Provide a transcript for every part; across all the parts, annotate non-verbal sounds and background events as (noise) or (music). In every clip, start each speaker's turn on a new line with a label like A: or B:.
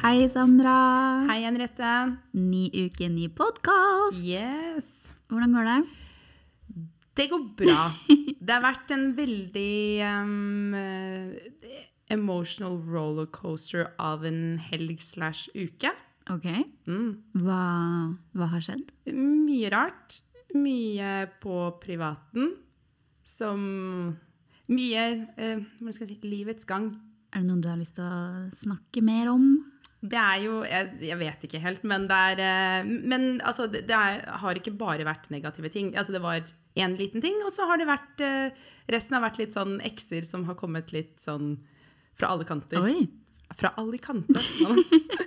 A: Hei, Samra.
B: Hei, Henriette.
A: Ny uke, ny podkast.
B: Yes.
A: Hvordan går det?
B: Det går (laughs) bra. Det har vært en veldig um, eh, emotional rollercoaster av en helg slash uke.
A: Ok.
B: Mm.
A: Hva, hva har skjedd?
B: Mye rart. Mye på privaten. Som Mye eh, Hvordan skal jeg si Livets gang.
A: Er det noe du har lyst til å snakke mer om?
B: Det er jo Jeg, jeg vet ikke helt, men det er eh, Men altså, det, det er, har ikke bare vært negative ting. Altså, det var én liten ting, og så har det vært eh, Resten har vært litt sånn ekser som har kommet litt sånn fra alle kanter.
A: Oi.
B: Fra alle kanter! (laughs)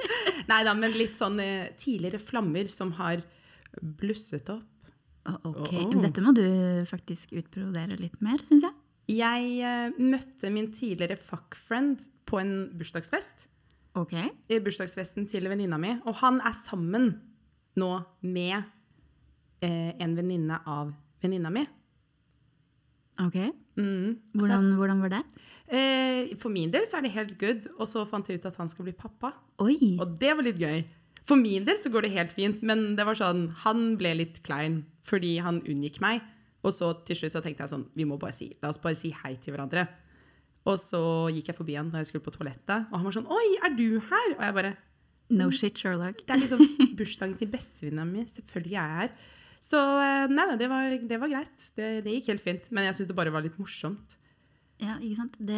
B: Nei da, men litt sånn eh, tidligere flammer som har blusset opp.
A: Å, Ok.
B: Å, å.
A: Men dette må du faktisk utbrodere litt mer, syns jeg.
B: Jeg eh, møtte min tidligere fuckfriend på en bursdagsfest.
A: Ok.
B: i bursdagsfesten til venninna mi, og han er sammen nå med eh, en venninne av venninna mi.
A: Ok.
B: Mm.
A: Hvordan, hvordan var det?
B: Eh, for min del så er det helt good, og så fant jeg ut at han skal bli pappa.
A: Oi.
B: Og det var litt gøy. For min del så går det helt fint, men det var sånn, han ble litt klein fordi han unngikk meg. Og så til slutt så tenkte jeg sånn, vi må bare si, la oss bare si hei til hverandre. Og så gikk jeg forbi han da jeg skulle på toalettet, og han var sånn, oi, er du her? Og jeg bare,
A: No shit, Sherlock.
B: Det er liksom bursdagen til bestevenninna mi. Selvfølgelig er jeg her. Så eh, nei, nei, det var, det var greit. Det, det gikk helt fint. Men jeg syns det bare var litt morsomt.
A: Ja, ikke sant? Det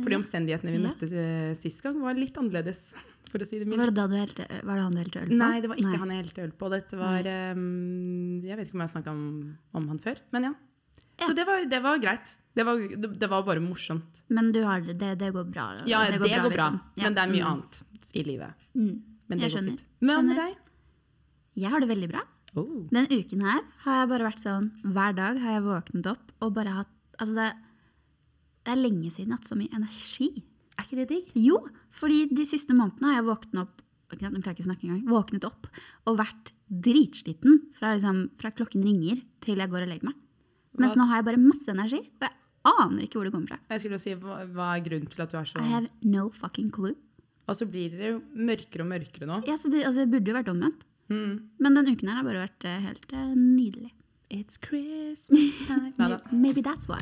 B: Fordi omstendighetene vi
A: Mhm. Ja.
B: møttes eh, sist gang, var litt annerledes, (laughs) for å si det
A: Var det
B: mildt.
A: da du helte Var det han du helte øl på?
B: Nei, det var ikke han jeg helte øl på. Dette var eh, Jeg vet ikke om jeg har snakka om, om han før, men ja.
A: Ja.
B: Så det var, det var greit. Det var, det, det var bare morsomt.
A: Men du har det, det går bra?
B: Ja, det går bra,
A: liksom. Ja.
B: men det er mye annet i livet.
A: Mm.
B: Men det
A: Jeg
B: går
A: skjønner.
B: fint. Men hva med
A: Skjønner.
B: deg?
A: Jeg har det veldig bra.
B: Oh.
A: Den uken her har jeg bare vært sånn Hver dag har jeg våknet opp og bare hatt Altså, det, det er lenge siden jeg har hatt så mye energi.
B: Er ikke det digg?
A: Jo, fordi de siste månedene har jeg våknet opp ikke sant, Nå klarer jeg ikke å snakke engang. Våknet opp og vært dritsliten fra, liksom, fra klokken ringer til jeg går og legger meg. Mens
B: Hva-
A: nå har jeg bare masse energi, og jeg aner ikke hvor det kommer fra.
B: Jeg skulle jo si, hva, hva er grunnen til at du er så
A: I have no fucking clue.
B: Og så blir det jo mørkere og mørkere nå.
A: Ja, så det, altså, det burde jo vært omvendt.
B: Mm.
A: Men den uken her har bare vært eh, helt eh, nydelig.
B: It's Christmas time. Neida.
A: Maybe that's why.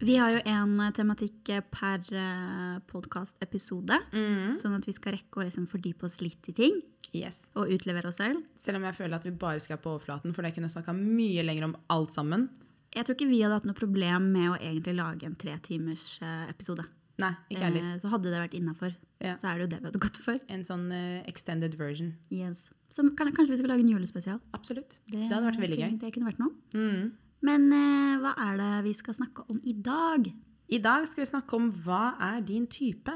A: Vi har jo en eh, tematikk eh, per podkast-episode,
B: Mm.
A: sånn at vi skal rekke å liksom fordype oss litt i ting
B: Yes.
A: og utlevere oss selv.
B: Selv om jeg føler at vi bare skal på overflaten, for jeg kunne snakka mye lenger om alt sammen.
A: Jeg tror ikke vi hadde hatt noe problem med å egentlig lage en tre timers eh, episode.
B: Nei, ikke jeg heller.
A: Eh, Så hadde det vært innafor,
B: Ja.
A: så er det jo det vi hadde gått for.
B: En sånn eh, extended version.
A: Yes. Så kan- kanskje vi skal lage en julespesial.
B: Absolutt. Det, hadde vært veldig gøy.
A: kunne- Det kunne vært noe.
B: Mm.
A: Men eh, hva er det vi skal snakke om i dag?
B: I dag skal vi snakke om hva er din type?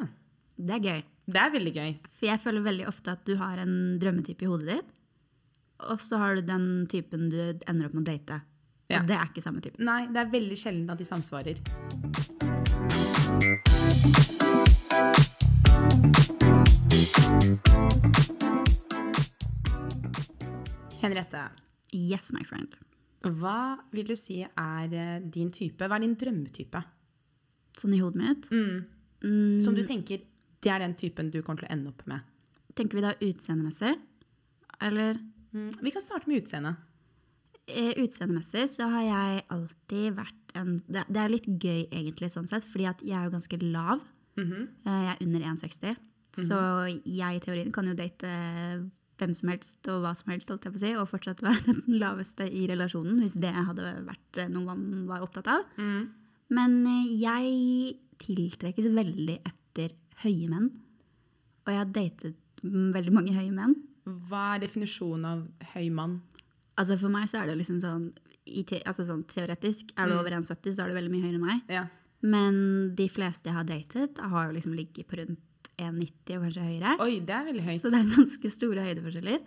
A: Det er gøy.
B: Det er veldig gøy.
A: For jeg føler veldig ofte at du har en drømmetype i hodet ditt, og så har du den typen du ender opp med å date. Og
B: Ja.
A: det er ikke samme typen.
B: Nei, det er veldig sjelden at de samsvarer. Henriette,
A: Yes, my friend.
B: hva vil du si er eh, din type? Hva er din drømmetype?
A: Sånn i hodet mitt.
B: Mm.
A: Mm,
B: Som du tenker det er den typen du kommer til å ende opp med.
A: Tenker vi da utseendemessig? Eller
B: Mm, Vi kan starte med utseendet.
A: eh, utseendemessig så har jeg alltid vært en Det, det er litt gøy egentlig sånn sett, fordi at jeg er jo ganske lav. Eh, Jeg er under 1,60. Så jeg i teorien kan jo date eh, hvem som helst og hva som helst, holdt jeg på å si, og fortsatt være (laughs) den laveste i relasjonen, hvis det hadde vært eh, noe man var opptatt av. Men eh, jeg tiltrekkes veldig etter høye menn. Og jeg har datet mm, veldig mange høye menn.
B: Hva er definisjonen av høy mann?
A: Altså For meg så er det liksom sånn, i te, altså sånn Teoretisk, er
B: Mm.
A: du over 1,70, så er du veldig mye høyere enn meg.
B: Ja.
A: Men de fleste jeg har datet, har jo liksom ligget på rundt 1,90 og kanskje høyere.
B: Oi, det er veldig høyt.
A: Så det er ganske store høydeforskjeller.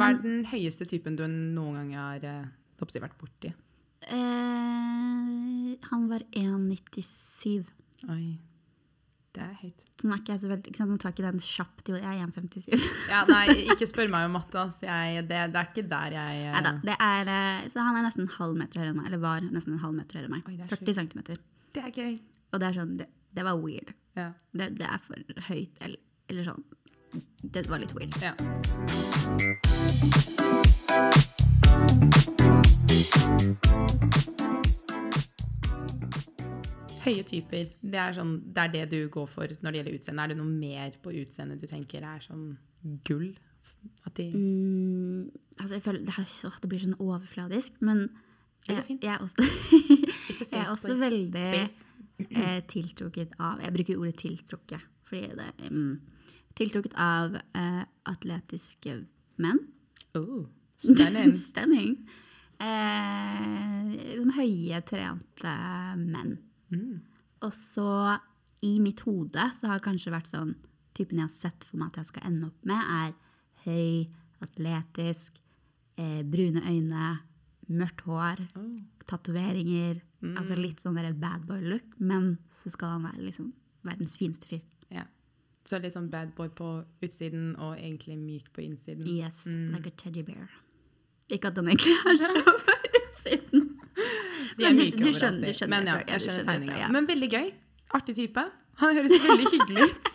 B: Hva er den høyeste typen du noen gang har eh, holdt på å si, vært borti?
A: Eh, han var 1,97.
B: Oi. Det er høyt.
A: Så nå er ikke jeg så veldig, ikke sant, nå tar ikke den kjapt i hodet. Jeg er 1,57.
B: (laughs) Ja, nei, ikke spør meg om matte, ass. Jeg, det, det er ikke der jeg eh,
A: Neida, det er, eh, så han er nesten en halv meter høyere enn meg. Eller var nesten en halv meter høyere enn meg.
B: Oi, det er
A: 40 cm.
B: Det er gøy.
A: Og det er sånn, det, det var weird.
B: Ja.
A: Det, det er for høyt, eller, eller sånn. Det var litt weird.
B: ja. Høye typer. Det er, sånn, det er det du går for når det gjelder utseende. Er det noe mer på utseendet du tenker er sånn gull? At de
A: Mm, altså jeg føler, det, her, åh, det blir sånn overfladisk, men
B: Det går
A: jeg,
B: fint.
A: jeg er også, (laughs)
B: It's
A: jeg
B: a safe
A: er også
B: space.
A: veldig
B: Space.
A: eh, tiltrukket av Jeg bruker ordet tiltrukket, fordi det mm, Tiltrukket av eh, atletiske menn. (laughs)
B: Oh, stunning.
A: Stunning. Eh, liksom høye, trente menn. Og så i mitt hode så har det kanskje vært sånn Typen jeg har sett for meg at jeg skal ende opp med, er høy, atletisk, eh, brune øyne, mørkt hår,
B: Oh,
A: tatoveringer. Altså litt sånn der bad boy look, men så skal han være liksom verdens fineste fyr.
B: Ja. Så litt sånn bad boy på utsiden og egentlig myk på innsiden.
A: Yes, like a teddy bear. Ikke at den egentlig er så (laughs) på utsiden.
B: De er
A: Men du-
B: myke
A: du
B: overalt,
A: skjønner- du
B: de.
A: skjønner
B: Men ja,
A: det, ja,
B: jeg
A: du
B: skjønner
A: skjønner det,
B: tegninga.
A: ja.
B: Men veldig gøy. Artig type. Han høres veldig hyggelig ut.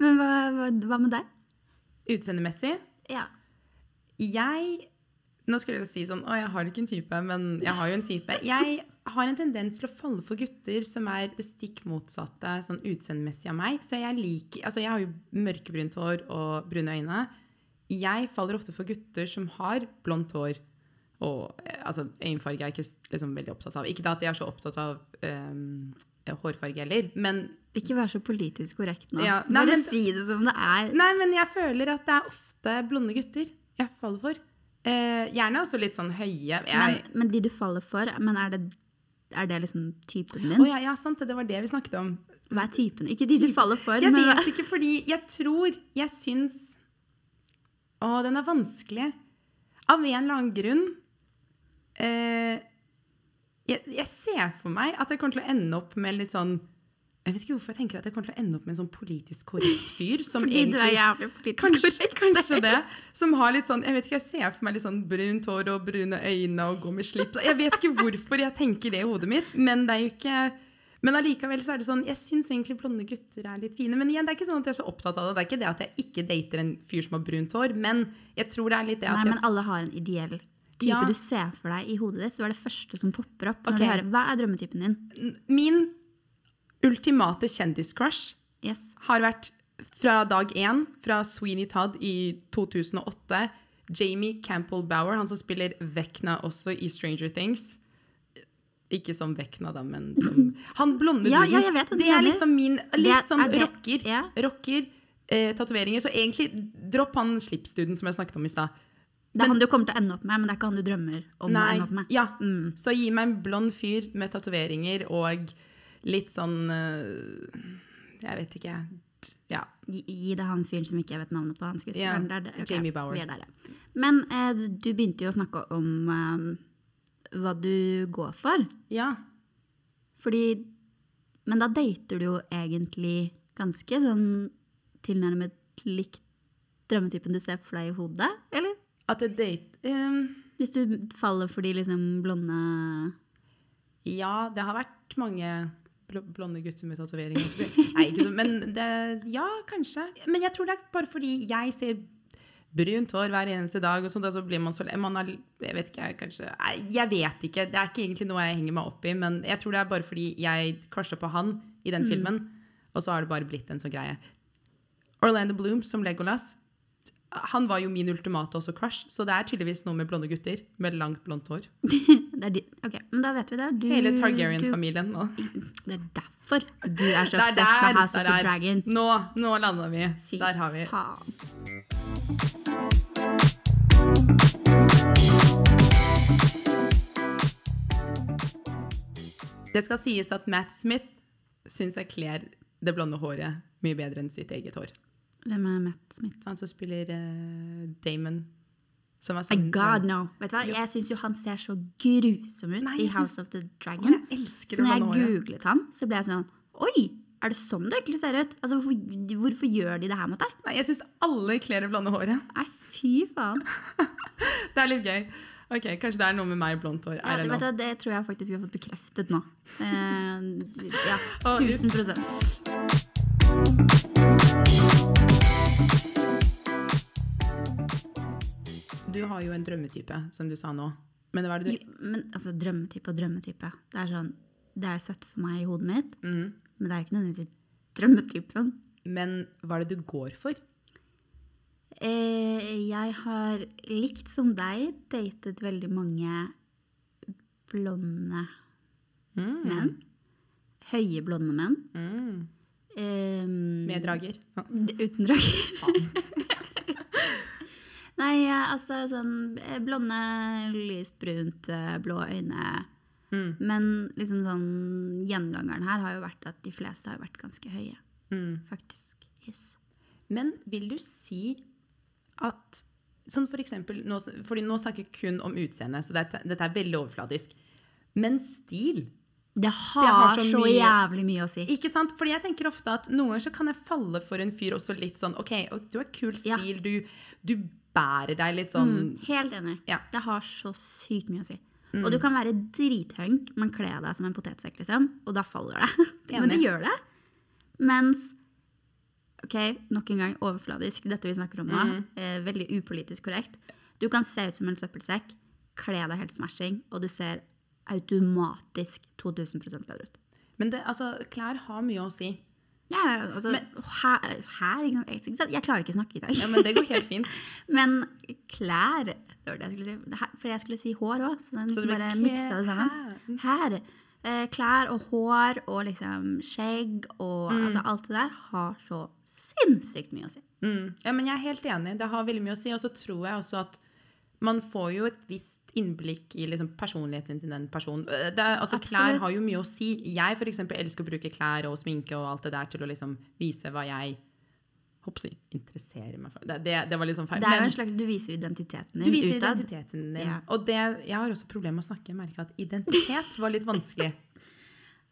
A: Men hva, hva, hva med deg?
B: (laughs) Utseendemessig
A: Ja.
B: Jeg Nå skulle jeg si sånn Å, jeg har ikke en type, men jeg har jo en type. Jeg har en tendens til å falle for gutter som er det stikk motsatte sånn utseendemessig av meg. Så jeg liker Altså, jeg har jo mørkebrunt hår og brune øyne. Jeg faller ofte for gutter som har blondt hår. Og eh, altså, øyenfarge er jeg ikke s- liksom, veldig opptatt av. Ikke da at jeg er så opptatt av eh, hårfarge heller, men
A: Ikke vær så politisk korrekt nå.
B: Ja, nei,
A: Bare
B: men-
A: si det som det er.
B: Nei, men jeg føler at det er ofte blonde gutter jeg faller for. Eh, gjerne også litt sånn høye.
A: Men,
B: Jeg,
A: men de du faller for, men er det, er det liksom typen
B: Å
A: din?
B: ja, ja, sant det. Det var det vi snakket om.
A: Hva er typen? Ikke de du faller for,
B: Jeg
A: men
B: vet ikke, fordi jeg tror Jeg syns Å, den er vanskelig. Av en eller annen grunn eh, jeg, jeg ser for meg at jeg kommer til å ende opp med litt sånn Jeg vet ikke hvorfor jeg tenker at jeg kommer til å ende opp med en sånn politisk korrekt fyr. Som
A: fordi du er
B: egentlig-
A: jævlig politisk
B: Kanskje,
A: korrekt.
B: kanskje det. Som har litt sånn, jeg vet ikke, jeg ser for meg litt sånn brunt hår og brune øyne og går med slips. Jeg vet ikke hvorfor jeg tenker det i hodet mitt, men det er jo ikke men allikevel så er det sånn, jeg syns egentlig blonde gutter er litt fine. Men igjen, det er ikke sånn at jeg er så opptatt av det. Det er ikke det at jeg ikke dater en fyr som har brunt hår, men jeg tror det er litt det
A: (laughs)
B: at
A: Nei, men
B: jeg
A: alle har en ideell type
B: Ja.
A: du ser for deg i hodet ditt. Så er det første som popper opp. Når
B: Ok.
A: du hører, Hva er drømmetypen din?
B: Min ultimate kjendiscrush
A: Yes.
B: har vært fra dag én, fra Sweeney Todd i 2008. Jamie Campbell Bower, han som spiller Vekna også i Stranger Things. Ikke som Vekna, da, men
A: (laughs)
B: som Han blonde
A: Ja,
B: duden.
A: ja, jeg vet hva du
B: det er
A: mener.
B: liksom min
A: Det
B: Litt
A: er-
B: sånn
A: er det-
B: rocker.
A: ja.
B: rocker eh, Tatoveringer. Så egentlig, dropp han slipsduden som jeg snakket om i stad.
A: Det er han du kommer til å ende opp med, men det er ikke han du drømmer om å Mm. ende opp med.
B: Ja. Så gi meg en blond fyr med tatoveringer og litt sånn eh, Jeg vet ikke. Ja.
A: Gi, gi det han fyren som ikke jeg vet navnet på. Han skuespilleren.
B: Ja,
A: Det er det- ok,
B: Jamie Bauer.
A: Vi er der, ja. Men eh, du begynte jo å snakke om eh, hva du går for.
B: ja.
A: Fordi Men da dater du jo egentlig ganske sånn tilnærmet likt drømmetypen du ser for deg i hodet, eller?
B: At jeg date ehm,
A: Hvis du faller for de liksom blonde (laughs)
B: Ja, det har vært mange bl blonde gutter med tatoveringer. holdt jeg på å si. Nei, ikke sånn, men det, ja, kanskje. Men jeg tror det er bare fordi jeg ser brunt hår hver eneste dag, og sånt, og så blir man så le- man har, Jeg vet ikke, jeg kanskje Nei, Jeg vet ikke. Det er ikke egentlig noe jeg henger meg opp i, men jeg tror det er bare fordi jeg crusha på han i den filmen, og så har det bare blitt en sånn greie. Orlando Bloom som Legolas. Han var jo min ultimate også crush, så det er tydeligvis noe med blonde gutter med langt blondt hår.
A: det er de, Ok, men da vet vi det. Du,
B: Hele
A: du-
B: Targaryen-familien nå.
A: (laughs) Det er derfor du er så
B: (laughs) Det er
A: obsessed
B: der!
A: med House of the
B: det er der.
A: Dragon.
B: Nå, nå landa vi.
A: Fy
B: Der har vi.
A: faen.
B: Det skal sies at Matt Smith syns jeg kler det blonde håret mye bedre enn sitt eget hår.
A: Hvem er Matt Smith?
B: Han som spiller eh, Damon. Som er
A: My
B: sammen-
A: God, no. Vet du hva? Jeg syns jo han ser så grusom ut
B: Nei,
A: i
B: jeg
A: House of the
B: Å,
A: Dragon.
B: jeg
A: Så
B: elsker det
A: når jeg
B: blonde håret.
A: googlet han, så ble jeg sånn Oi! Er det sånn det egentlig ser ut? Altså, hvorfor, hvorfor gjør de det her mot deg?
B: Nei, jeg syns alle kler det blonde håret. (laughs)
A: Nei, fy faen.
B: Det er litt gøy. Ok, Kanskje det er noe med meg og blondt hår.
A: Ja,
B: I
A: det, vet
B: don't know.
A: du, hva, det tror jeg faktisk vi har fått bekreftet
B: (laughs)
A: nå. Eh, ja,
B: Å,
A: 1000 prosent.
B: Du har jo en drømmetype, som du sa nå. Men hva er det du
A: Jo, Men altså, drømmetype og drømmetype. Det er sånn, det er sett for meg i hodet mitt, men det er jo ikke nødvendigvis drømmetypen.
B: Mm. Men hva er det du går for?
A: Eh, jeg har likt som deg datet veldig mange blonde
B: Mm.
A: menn. Høye blonde menn. Eh,
B: Med drager? Ja.
A: d- Uten drag. (laughs) Nei, eh, altså sånn eh, blonde, lyst brunt, eh, blå øyne.
B: Mm.
A: Men liksom sånn gjengangeren her har jo vært at de fleste har jo vært ganske høye. Faktisk. Yes.
B: Men vil du si at Sånn for eksempel, nå, fordi nå snakker jeg kun om utseende, så dette, dette er veldig overfladisk. Men stil
A: Det har,
B: har så
A: så,
B: mye-
A: jævlig mye å si.
B: Ikke sant? Fordi jeg tenker ofte at noen ganger så kan jeg falle for en fyr også litt sånn OK, og du har kul
A: Ja.
B: stil, du, du bærer deg litt sånn
A: Mm, Helt enig.
B: Ja. Mm.
A: Det har så sykt mye å si. Og du kan være drithunk, men kle deg som en potetsekk, liksom, og da faller det. (laughs) men det
B: Enig.
A: gjør det. Mens Ok, nok en gang overfladisk, dette vi snakker om nå.
B: Mm.
A: Eh, veldig upolitisk korrekt. Du kan se ut som en søppelsekk, kle deg helt smashing, og du ser automatisk 2000 bedre ut.
B: Men det, altså, klær har mye å si.
A: Ja, altså, her, her ikke sant? Jeg- ikke sant? Jeg klarer ikke å snakke i dag.
B: Ja, men det går helt fint.
A: Men klær det var det jeg skulle si. Det her- For jeg skulle si hår òg, så den
B: Så det ble
A: bare
B: klær-
A: miksa det sammen. Her. eh, Klær og hår og liksom skjegg og altså alt det der har så sinnssykt mye å si.
B: Mm. Ja, men jeg er helt enig. Det har veldig mye å si. Og så tror jeg også at man får jo et visst innblikk i liksom personligheten til den personen. Øh, Det er, altså, klær
A: Absolutt.
B: har jo mye å si. Jeg for eksempel elsker å bruke klær og sminke og alt det der til å liksom vise hva jeg håper å si, interesserer meg for. Det, det, det var litt sånn feil.
A: Det er jo
B: Men
A: en slags Du viser identiteten
B: du
A: din
B: viser
A: utad.
B: identiteten din.
A: Ja.
B: Og det, jeg har også problemer med å snakke. Jeg merker at identitet var litt vanskelig.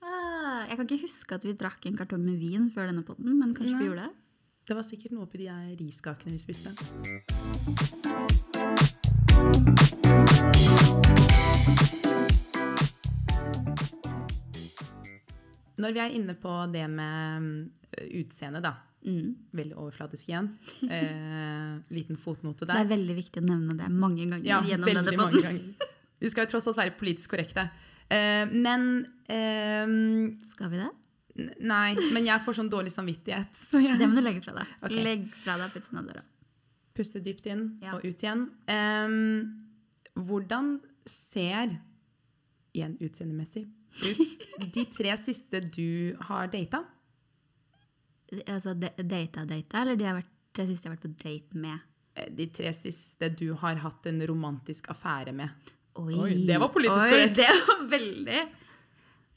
A: Ah, Jeg kan ikke huske at vi drakk en kartong med vin før denne potten, men kanskje vi gjorde det?
B: Det var sikkert noe oppi de der riskakene vi spiste. Når vi er inne på det med mm, utseende, da.
A: Mm.
B: Veldig overflatisk
A: (laughs)
B: igjen. Eh, liten fotnote
A: Det
B: der.
A: er veldig viktig å nevne det mange ganger
B: Ja,
A: gjennom
B: veldig
A: denne
B: mange
A: potten.
B: ganger. Vi skal jo tross alt være politisk korrekte. Eh, men eh, n-
A: Skal vi det?
B: Nei, men jeg får sånn dårlig samvittighet. Så jeg
A: Det må du legge fra deg.
B: (laughs) Ok.
A: Legg fra deg pizzaen av døra.
B: Puste dypt inn
A: Ja.
B: og ut igjen. Ehm, hvordan ser igjen utseendemessig
A: (laughs)
B: ut de tre siste du har data?
A: Altså de- data, data, eller de har vært, tre siste jeg har vært på date med?
B: Eh, De tre siste du har hatt en romantisk affære med?
A: Oi,
B: Oi, det var politisk
A: oi,
B: korrekt.
A: Det var veldig.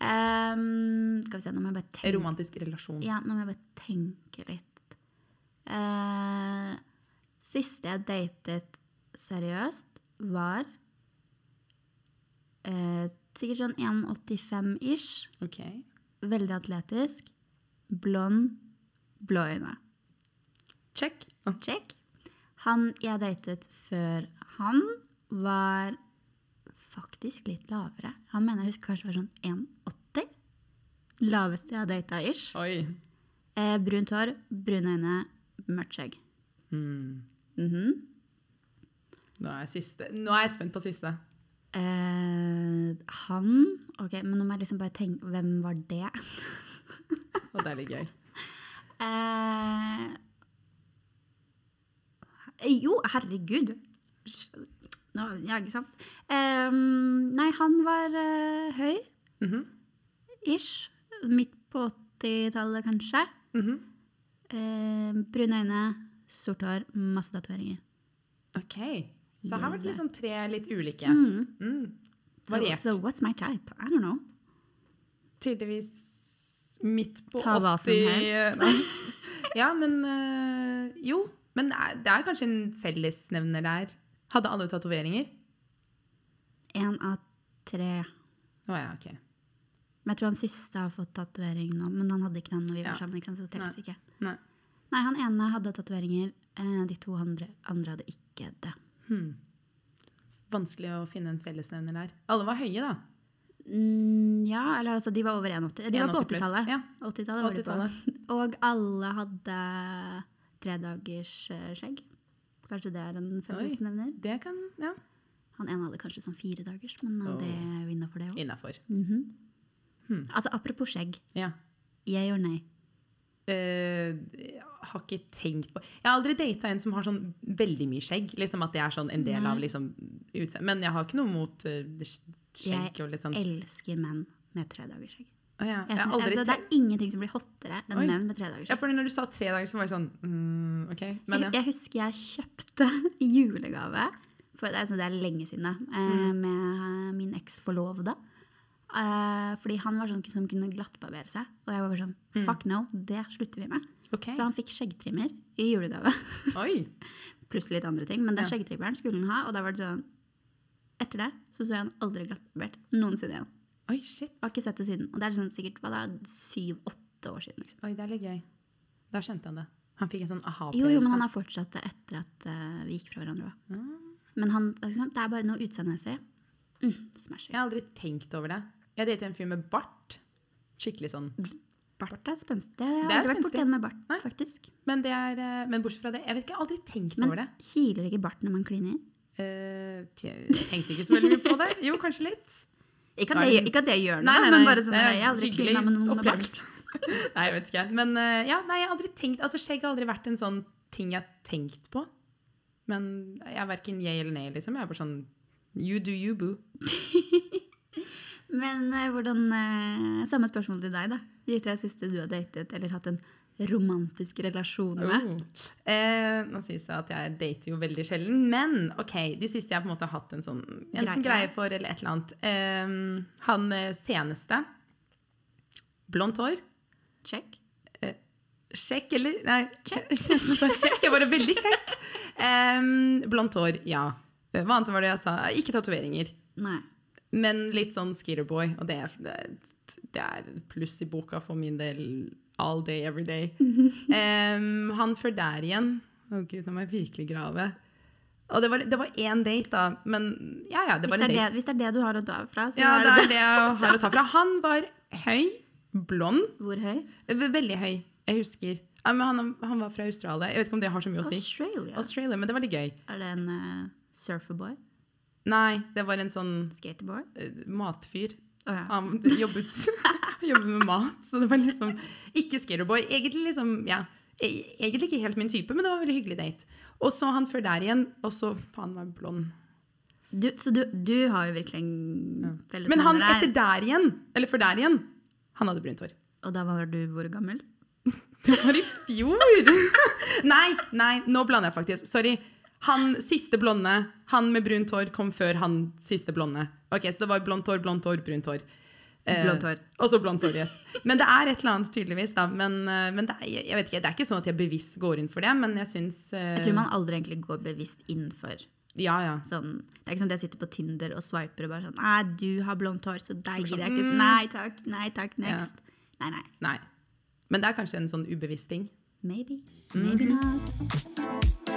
A: Ehm, skal vi se, nå må jeg bare
B: En
A: tenke,
B: romantisk relasjon.
A: ja, nå må jeg bare tenke litt. Eh, siste jeg datet seriøst, var eh, sikkert sånn 1,85-ish.
B: Ok.
A: Veldig atletisk. Blond. Blå øyne.
B: Check.
A: Check. Han jeg datet før han, var faktisk litt lavere. Han mener jeg husker kanskje var sånn 1,80. Laveste jeg har data ish.
B: Oi.
A: Eh, brunt hår, brune øyne, mørkt skjegg. Mhm.
B: Hmm. Nå er, jeg siste. Nå er jeg spent på siste.
A: eh, han Ok, men nå må jeg liksom bare tenke Hvem var det?
B: Og det er litt gøy.
A: Eh, jo, herregud. Nå, ja, ikke sant. Eh, nei, han var eh, høy.
B: Mhm.
A: Ish. Midt på 80-tallet, kanskje.
B: Mhm.
A: Eh, brune øyne, sort hår, masse tatoveringer.
B: Ok. Så her har vært liksom tre litt ulike.
A: Mm.
B: Mm.
A: So,
B: Variert.
A: so what's my type? I don't know.
B: tydeligvis midt på
A: Ta
B: 80
A: hva som helst.
B: (laughs) ja, men øh, Jo. Men det er, det er kanskje en fellesnevner der. Hadde alle tatoveringer?
A: Én av tre.
B: Å ja, OK.
A: Men jeg tror han siste har fått tatovering nå, men han hadde ikke den når vi var
B: Ja.
A: sammen. ikke sant? Så det telles ikke.
B: Nei.
A: Nei, han ene hadde tatoveringer. eh, De to andre, andre hadde ikke det.
B: Vanskelig å finne en fellesnevner der. Alle var høye, da.
A: Mm, ja, eller altså, de var over 1,80. De var på
B: 1,80 pluss.
A: 80-tallet.
B: Ja.
A: 80-tallet var de på. Og alle hadde tredagers eh, skjegg. Kanskje det er en fellesnevner.
B: Det kan Ja.
A: Han ene hadde kanskje sånn fire dagers, men eh,
B: Oh.
A: det er jo innafor det òg.
B: Innafor. Hmm.
A: Altså, apropos skjegg.
B: Ja.
A: Jeg gjør nei.
B: Eh, jeg har ikke tenkt på Jeg har aldri data en som har sånn veldig mye skjegg. Liksom At det er sånn en del av liksom utseendet. Men jeg har ikke noe mot eh, skjegg og litt sånn
A: Elsker menn med tredagers skjegg.
B: Å ja.
A: Jeg
B: Jeg har
A: synes-
B: aldri
A: altså, det
B: tenkt
A: er ingenting som blir hottere enn
B: Oi.
A: menn med tredagers
B: ja,
A: skjegg.
B: fordi Når du sa tre dager, så var jeg sånn mm, OK. Men
A: Jeg, (laughs)
B: ja.
A: jeg husker jeg kjøpte (laughs) julegave, for det er, sånn- det er lenge siden, da,
B: Mm.
A: eh, med min eksforlovede. Eh, fordi han var sånn som kunne glattbarbere seg. Og jeg var bare sånn Fuck no, det slutter vi med.
B: Mm. Ok.
A: Så han fikk skjeggtrimmer i julegave.
B: Oi!
A: Pluss litt andre ting. Men den
B: Ja.
A: skjeggtrimmeren skulle han ha, og da var det sånn Etter det så så jeg han aldri glattbarbert noensinne igjen.
B: Oi, shit.
A: Har ikke sett det siden. Og det er sånn sikkert hva da, syv-åtte år siden. liksom.
B: Oi, det er litt gøy. Da skjønte han det. Han fikk en sånn
A: Jo, jo, men han
B: aha-opplevelse.
A: har fortsatt det etter at eh, vi gikk fra hverandre også. Men han, liksom, det er bare noe utseendemessig. Mm,
B: Jeg
A: smasher.
B: har aldri tenkt over det. Jeg datet en fyr med bart. Skikkelig sånn.
A: Bart er spenstig. Det har
B: Det er
A: aldri vært
B: spenstig.
A: borti en med bart,
B: Nei.
A: faktisk.
B: Men, det er, eh, men bortsett fra det, jeg vet ikke, jeg har aldri tenkt
A: Men
B: over det.
A: kiler ikke bart når man kliner?
B: Eh, tje- jeg tenkte ikke så veldig mye på det. Jo, kanskje litt.
A: Ikke
B: Da
A: at
B: er
A: det,
B: det-
A: gjør- ikke at det gjør noe, men bare sånn
B: det er
A: at jeg har aldri
B: Eh, hyggelig
A: klina med noen med bart.
B: opplevelse. (laughs) nei, jeg vet ikke. Men eh, ja, nei, jeg har aldri tenkt Altså, skjegg har aldri vært en sånn ting jeg har tenkt på. Men jeg er verken yay eller nay, liksom. Jeg er bare sånn You do you, boo.
A: Men eh, hvordan eh, Samme spørsmål til deg, da. De tre siste du har datet eller hatt en romantisk relasjon med.
B: Oh. Eh, nå sies det at jeg dater jo veldig sjelden, men ok, de siste jeg på en måte har hatt en sånn enten
A: Greie.
B: greie for eller et eller annet. Eh, han eh, seneste, blondt hår,
A: Check.
B: Kjekk, eller? Nei, kjekk. kjekk. (laughs) Jeg var veldig kjekk. Um, blondt hår, ja. Hva annet var det jeg sa? Ikke tatoveringer.
A: Nei.
B: Men litt sånn skitterboy, og det, det, det er pluss i boka for min del all day, every
A: (laughs)
B: day. Um, han før der igjen Å gud, nå må jeg virkelig grave. Og det var, det var én date, da. Men ja, ja, det
A: Hvis det,
B: var en
A: er det,
B: date.
A: hvis det er det du har å ta fra, så
B: Ja,
A: er
B: det
A: det
B: er det jeg har å ta fra. Han var høy, blond.
A: det. Hvor høy?
B: V- Eh, Veldig høy. Jeg husker. Ja, men han, han var fra Australia. Jeg vet ikke om det har så mye å si.
A: Australia.
B: Australia, Men det var litt gøy.
A: Er det en eh, surferboy?
B: Nei, det var en sånn
A: Skateboard?
B: eh, matfyr.
A: Å ja.
B: Han jobbet, (laughs) jobbet med mat, så det var liksom ikke skaterboy. Egentlig liksom, ja. e- Egentlig ikke helt min type, men det var en veldig hyggelig date. Og så han før der igjen, og så faen var han blond.
A: Du, så du, du har jo virkelig en felles
B: Men han
A: venner der.
B: etter der igjen, eller før der igjen, han hadde brunt hår.
A: Og da var du hvor gammel?
B: Det var i fjor! (laughs) nei, nei, nå blander jeg faktisk. Sorry. Han siste blonde, han med brunt hår, kom før han siste blonde. Ok, Så det var blondt hår, blondt hår, brunt hår. Eh,
A: Blondt hår.
B: Og så blondt hår, ja. Men det er et eller annet, tydeligvis. da. Men, eh, men det, er, jeg vet ikke, det er ikke sånn at jeg bevisst går inn for det, men jeg syns eh,
A: Jeg tror man aldri egentlig går bevisst inn for
B: Ja, ja.
A: sånn Det er ikke sånn at jeg sitter på Tinder og swiper og bare sånn Nei, du har blondt hår, så deg
B: sånn,
A: gidder jeg
B: «Mm».
A: ikke. Nei takk, nei takk, next. Nei, nei.
B: Nei. Men det er kanskje en sånn ubevisst ting.
A: Maybe.
B: Mhm.
A: Maybe not.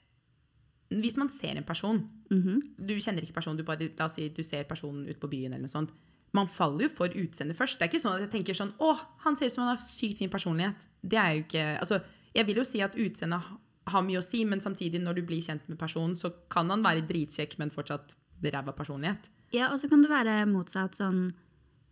B: hvis man ser en person, du kjenner ikke personen, du bare, la oss si du ser personen ut på byen eller noe sånt, man faller jo for utseendet først. Det er ikke sånn at jeg tenker sånn, åh, han ser ut som han har sykt fin personlighet. Det er jo ikke, altså, jeg vil jo si at utseendet ha- har mye å si, men samtidig når du blir kjent med personen, så kan han være dritkjekk, men fortsatt ræva personlighet.
A: Ja, og så kan det være motsatt sånn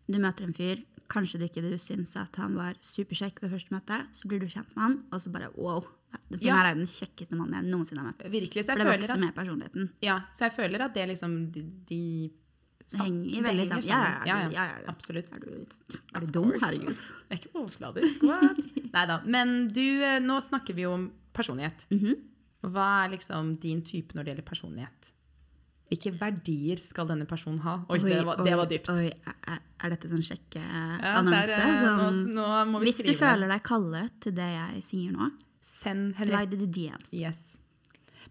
A: Du møter en fyr, kanskje du ikke du syns at han var superkjekk ved første møte, så blir du kjent med han, og så bare wow. For
B: Ja.
A: her er jo den kjekkeste mannen jeg noensinne har møtt.
B: Virkelig, så jeg
A: For det
B: føler at...
A: vokser med personligheten.
B: Ja, så jeg føler at det liksom de, de
A: Det henger veldig sammen. Ja, ja,
B: Ja,
A: er
B: ja.
A: du- ja, ja, ja.
B: Absolutt.
A: Er du,
B: Of
A: er du dum? (laughs)
B: course.
A: Herregud.
B: Det er ikke overfladisk. What? (laughs) Nei da. Men du, eh, nå snakker vi jo om personlighet.
A: Mhm.
B: Hva er liksom din type når det gjelder personlighet? Hvilke verdier skal denne personen ha? Oi, det, var, det var dypt.
A: Oi, er, er dette sånn
B: Ja, der,
A: sjekkeannonse?
B: eh, nå,
A: sånn,
B: nå må vi
A: hvis du
B: skrive det.
A: føler deg kallet til det jeg sier nå,
B: Send
A: slide
B: Henriette
A: the DMs.
B: Yes.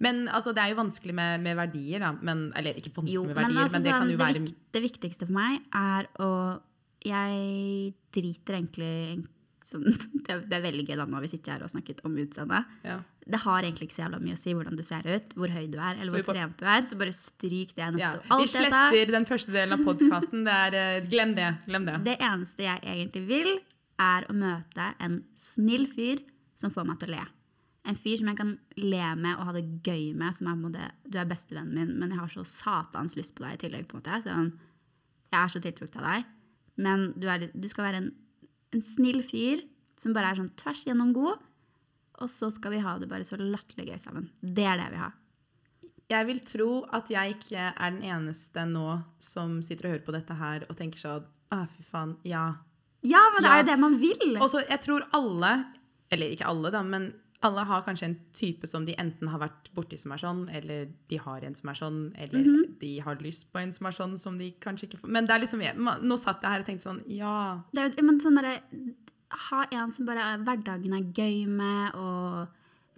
B: Men altså, det er jo vanskelig med, med verdier, da. Men, eller ikke vanskelig
A: Jo,
B: med
A: men,
B: verdier, men,
A: altså,
B: det
A: sånn,
B: kan jo
A: det,
B: være
A: vik det viktigste for meg er å Jeg driter egentlig sånn, (laughs) det, er, det er veldig gøy da når vi sitter her og snakket om utseende.
B: ja.
A: Det har egentlig ikke så jævla mye å si hvordan du ser ut, hvor høy du er, eller
B: Så vi
A: hvor
B: bare-
A: trent du er. Så bare stryk det.
B: Ja.
A: nettopp.
B: Vi
A: Alt jeg sa,
B: sletter den første delen av podkasten. eh, Glem det. Glem det.
A: det eneste jeg egentlig vil, er å møte en snill fyr som får meg til å le. En fyr som jeg kan le med og ha det gøy med, som er på en måte, du er bestevennen min, men jeg har så satans lyst på deg i tillegg. på en måte. Sånn, jeg er så tiltrukket av deg. Men du, er, litt- du skal være en, en snill fyr som bare er sånn tvers igjennom god, og så skal vi ha det bare så latterlig gøy sammen. Det er det vi har.
B: Jeg vil tro at jeg ikke er den eneste nå som sitter og hører på dette her og tenker sånn Å, fy faen. Ja.
A: Ja, men det er jo
B: Ja.
A: det man vil!
B: Og så jeg tror alle, eller ikke alle da, men alle har kanskje en type som de enten har vært borti som er sånn, eller de har en som er sånn, eller de har lyst på en som er sånn, som de kanskje ikke får. Men det er liksom, jeg, ma- nå satt jeg her og tenkte sånn, ja,
A: Det er, jo- men sånn derre Ha en som bare er- hverdagen er gøy med, og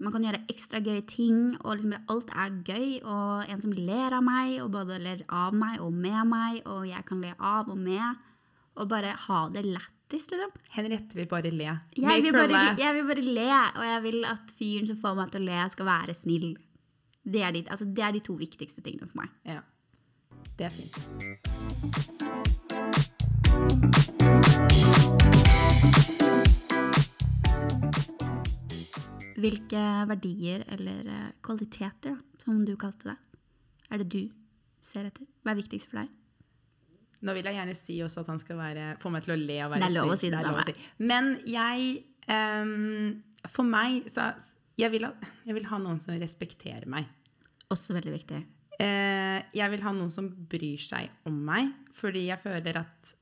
A: man kan gjøre ekstra gøye ting, og liksom bare alt er gøy. Og en som ler av meg, og både ler av meg og med meg, og jeg kan le av og med. Og bare ha det lættis, liksom.
B: Henriette vil bare le.
A: Jeg vil, bare, jeg vil bare le, og jeg vil at fyren som får meg til å le, skal være snill. Det er de, altså, det er de to viktigste tingene for meg.
B: Ja. Det er fint.
A: Hvilke verdier eller eh, kvaliteter, da, som du kalte det, er det du ser etter? Hva er viktigst for deg?
B: Nå vil jeg gjerne si også at han skal være, få meg til å le og være
A: Det er lov å si det
B: er lov
A: samme.
B: si. Men jeg ehm, For meg så jeg vil, ha, jeg vil ha noen som respekterer meg.
A: Også veldig viktig.
B: Eh, jeg vil ha noen som bryr seg om meg, fordi jeg føler at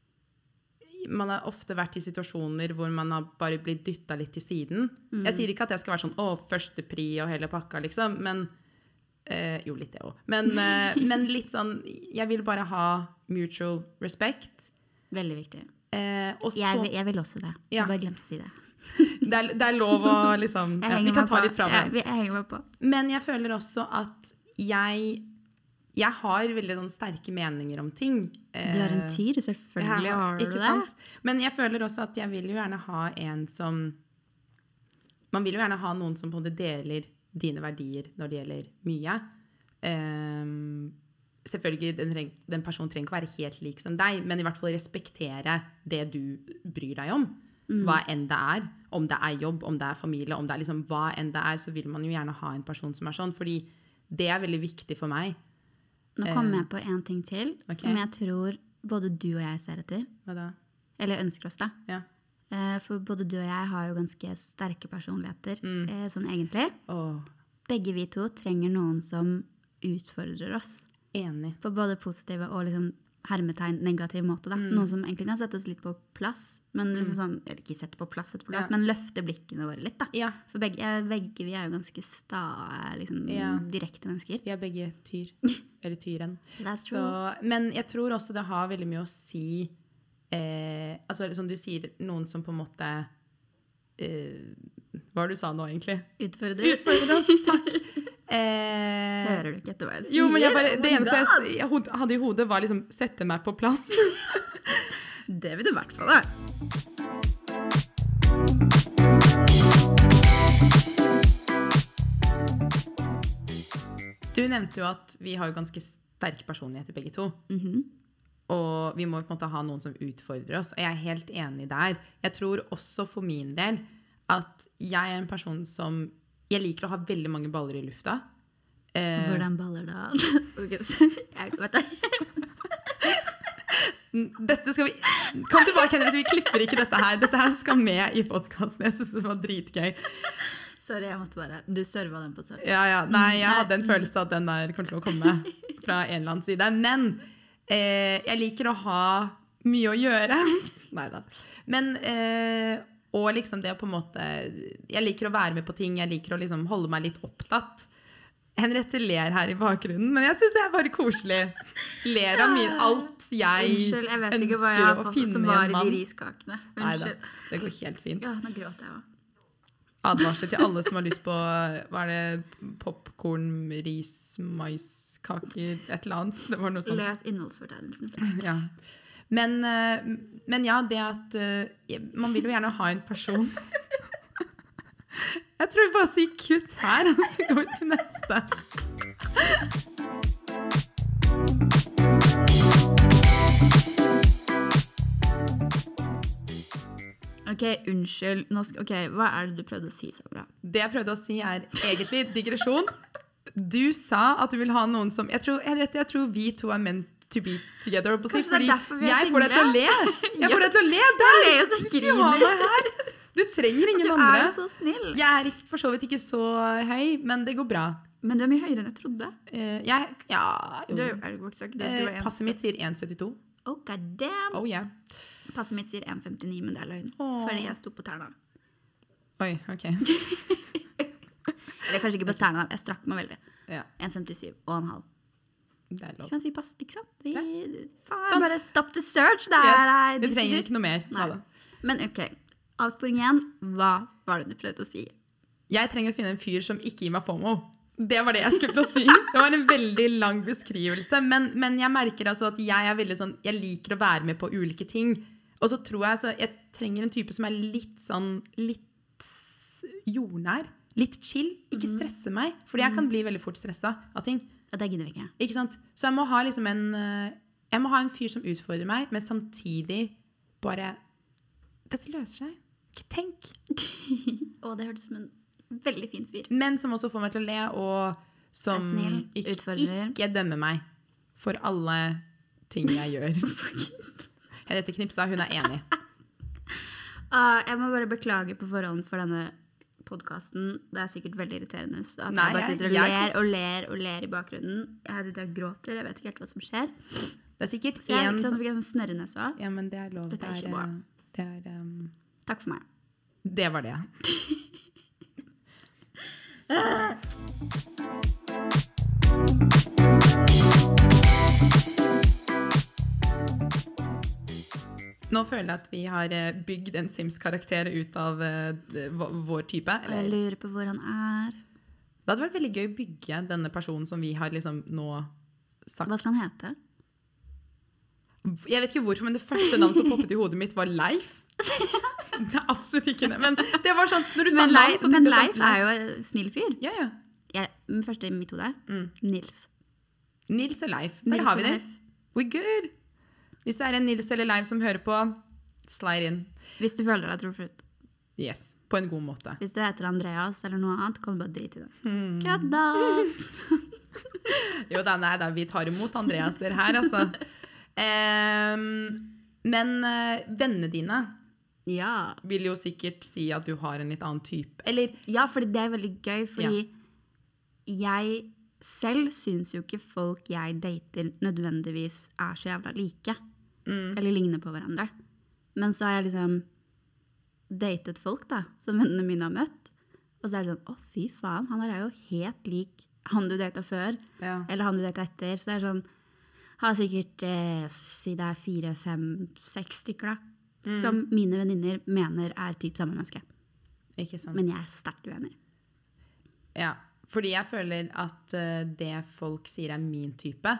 B: man har ofte vært i situasjoner hvor man har bare blitt dytta litt til siden.
A: Mm.
B: Jeg sier ikke at jeg skal være sånn 'å, førstepri og hele pakka', liksom, men eh, Jo, litt det òg. Men, eh, men litt sånn Jeg vil bare ha mutual respect.
A: Veldig viktig.
B: Eh, og så
A: Jeg, vil- jeg vil også det.
B: Ja.
A: Jeg bare glemte å si det.
B: det, er, det er lov å
A: (laughs)
B: liksom
A: Jeg
B: ja,
A: henger
B: Vi kan
A: meg
B: ta
A: på.
B: litt fra
A: Ja,
B: hverandre.
A: vi- jeg henger meg på.
B: Men jeg føler også at jeg Jeg har veldig sånn sterke meninger om ting.
A: Du er en tyr, selvfølgelig har du
B: ikke
A: det.
B: Sant? Men jeg føler også at jeg vil jo gjerne ha en som Man vil jo gjerne ha noen som på en måte deler dine verdier når det gjelder mye. Ehm, selvfølgelig, den, treng, den personen trenger ikke å være helt lik som deg, men i hvert fall respektere det du bryr deg om.
A: Mm.
B: Hva enn det er. Om det er jobb, om det er familie, om det er liksom hva enn det er, så vil man jo gjerne ha en person som er sånn. Fordi det er veldig viktig for meg.
A: Nå kom jeg på en ting til
B: ok.
A: som jeg tror både du og jeg ser etter.
B: Hva da?
A: Eller ønsker oss, da.
B: Ja.
A: Eh, For både du og jeg har jo ganske sterke personligheter eh, sånn egentlig.
B: Åh,
A: Begge vi to trenger noen som utfordrer oss.
B: enig.
A: på både positive og liksom hermetegn negativ måte. Da.
B: Mm.
A: Noe som egentlig kan sette oss litt på plass. Men liksom sånn, eller ikke sette på plass, sette på plass,
B: Ja.
A: men løfte blikkene våre litt. Da.
B: Ja.
A: For begge, eh, begge vi er jo ganske sta, liksom,
B: Ja.
A: direkte mennesker.
B: Vi er begge
A: (laughs)
B: tyr. Eller tyren.
A: That's
B: Så,
A: true.
B: men jeg tror også det har veldig mye å si eh, Altså, som du sier, noen som på en måte eh, Hva var det du sa nå, egentlig?
A: Utfordrer.
B: (laughs) Utfordrer
A: (laughs)
B: oss. Takk. Eh,
A: Hører du ikke etter hva jeg sier?
B: jo, men jeg bare,
A: Oh
B: det
A: my
B: eneste jeg
A: God.
B: s- jeg hod- hadde i hodet, var liksom 'sette meg på plass'.
A: Det vil du i hvert fall, da.
B: Du nevnte jo at vi har jo ganske sterke personligheter, begge to. Og vi må på en måte ha noen som utfordrer oss. Og jeg er helt enig der. Jeg tror også for min del at jeg er en person som Jeg liker å ha veldig mange baller i lufta. Eh,
A: Hvordan baller det av? (laughs) Ok, så jeg, vet du,
B: dette skal vi Kom tilbake, Henriette. Vi klipper ikke dette her. Dette her skal med i podkasten. Jeg syns det var dritgøy.
A: sorry, jeg måtte bare Du serva den på sorry. Mm,
B: Ja, ja. Nei, jeg hadde en følelse av at den der kom til å komme fra en eller annen side. Men Eh, jeg liker å ha mye å gjøre. (laughs) Nei da. Men eh, Og liksom det å på en måte Jeg liker å være med på ting, jeg liker å liksom holde meg litt opptatt. Henriette ler her i bakgrunnen, men jeg syns det er bare koselig. Ler av min, alt jeg,
A: Unnskyld, jeg vet ikke hva
B: ønsker
A: jeg har
B: å
A: fått
B: finne
A: som
B: i
A: var
B: en
A: i de
B: mann.
A: riskakene.
B: Neida,
A: Unnskyld.
B: det går helt fint.
A: Ja, nå gråter jeg òg.
B: Advarsel til alle som har lyst på hva er det, popkorn, ris, maiskaker, et eller annet. Det var noe sånt.
A: Les innholdsfortegnelsen.
B: Ja. Men, eh, men ja, det at eh, Man vil jo gjerne ha en person (laughs) Jeg tror vi bare sier kutt her, og så går vi til neste.
A: Ok, unnskyld. Nå sk- ok, hva er det du prøvde å si, Sabra?
B: Det jeg prøvde å si, er egentlig digresjon. Du sa at du vil ha noen som Jeg tror, jeg vet, jeg tror vi to er meant to be together. holdt på å si,
A: Kanskje det er
B: fordi
A: derfor vi er
B: Jeg får deg til å le! (laughs) Jeg får deg til å le der!
A: ler jeg så
B: Du skal ha
A: griner.
B: meg her. Du trenger ingen
A: Du er
B: andre.
A: jo så snill.
B: Jeg er ikke- for så vidt ikke så høy, men det går bra.
A: Men du er mye høyere enn jeg trodde.
B: Eh, jeg Ja, jo.
A: Du er jo ergoksøk. Du, du er
B: Eh,
A: en-
B: Passet mitt sier 1,72.
A: Oh, god damn.
B: Oh yeah.
A: Passet mitt sier 1,59, men det er løgn.
B: Åh.
A: Fordi jeg sto på tærne.
B: Oi,
A: (laughs)
B: ok.
A: Eller kanskje ikke på tærne, jeg strakk meg veldig.
B: Ja,
A: 1,57 og en halv.
B: det er lov.
A: Ikke sant, vi passer, ikke sant? Vi, faen,
B: Sånn.
A: Bare stop the search. Det er
B: Yes, vi trenger ikke noe mer.
A: Nei.
B: Nada.
A: Men ok, avsporing igjen. Hva var det du prøvde å si?
B: Jeg trenger å finne en fyr som ikke gir meg FOMO. Det var det jeg skulle til å si. Det var en veldig lang beskrivelse. Men, men jeg merker altså at jeg er veldig sånn Jeg liker å være med på ulike ting. Og så tror jeg altså Jeg trenger en type som er litt sånn Litt jordnær. Litt chill. Ikke stresse meg. Fordi jeg kan bli veldig fort stressa av ting.
A: Ja, det gidder vi ikke.
B: Ikke sant? Så jeg må ha liksom en eh, Jeg må ha en fyr som utfordrer meg, men samtidig bare Dette løser seg. Ikke tenk.
A: Å, det hørtes ut som en veldig fin fyr.
B: Men som også får meg til å le, og som
A: Er snill,
B: ikke,
A: utfordrer.
B: ikke dømmer meg for alle ting jeg gjør.
A: (laughs)
B: Henriette Knipsa, hun er enig.
A: Ah, jeg må bare beklage på forhånd for denne podkasten. Det er sikkert veldig irriterende så at
B: Nei,
A: jeg bare
B: jeg-
A: sitter og
B: jeg
A: ler
B: koser-
A: og ler og ler i bakgrunnen. Jeg sitter og gråter, jeg vet ikke helt hva som skjer.
B: Det er sikkert
A: Så jeg
B: én
A: fikk sånn,
B: som
A: fikk en sånn snørrenese også.
B: Ja, men det er lov.
A: Dette er
B: Det
A: ikke
B: er,
A: bra.
B: eh, det er ehm,
A: Takk for meg.
B: Det var det. Nå føler jeg at vi har eh, bygd en Sims-karakter ut av eh, d- vå- vår type.
A: Og jeg
B: Eller,
A: lurer på hvor han er.
B: det hadde vært veldig gøy å bygge denne personen som vi har liksom nå sagt.
A: Hva skal han hete?
B: Jeg vet ikke hvorfor, men det første navnet som poppet i hodet mitt, var
A: (laughs)
B: Leif. Det er absolutt ikke det. Men det var sånn, når du sa
A: Men,
B: navn,
A: Leif,
B: så
A: men
B: tenkte jeg
A: Leif
B: sånn
A: er jo en snill fyr.
B: Ja, ja.
A: Jeg, den første i mitt hode er
B: Mm.
A: Nils.
B: Nils og Leif. Der
A: Nils
B: har vi
A: og
B: det.
A: Leif.
B: We're good. Hvis det er en Nils eller Leif som hører på, slide in.
A: Hvis du føler deg trofrutt.
B: Yes. På en god måte.
A: Hvis du heter Andreas eller noe annet, kan du bare drite i det. Kødda!
B: Jo da, nei da, vi tar imot Andreas der her, altså. Em, men eh, vennene dine
A: (laughs) Ja.
B: vil jo sikkert si at du har en litt annen type. Eller
A: ja, fordi det er veldig gøy, fordi jeg selv syns jo ikke folk jeg dater nødvendigvis er så jævla like. Eller ligner på hverandre. Men så har jeg liksom datet folk da, som vennene mine har møtt. Og så er det sånn, å fy faen, han her er jo helt lik han du data før.
B: ja.
A: eller han du leter etter. Så det er sånn Har sikkert eh, Si det er fire, fem, seks stykker, da. Som mine venninner mener er typ samme menneske.
B: Ikke sant.
A: Men jeg er sterkt uenig.
B: Ja, fordi jeg føler at eh, det folk sier er min type,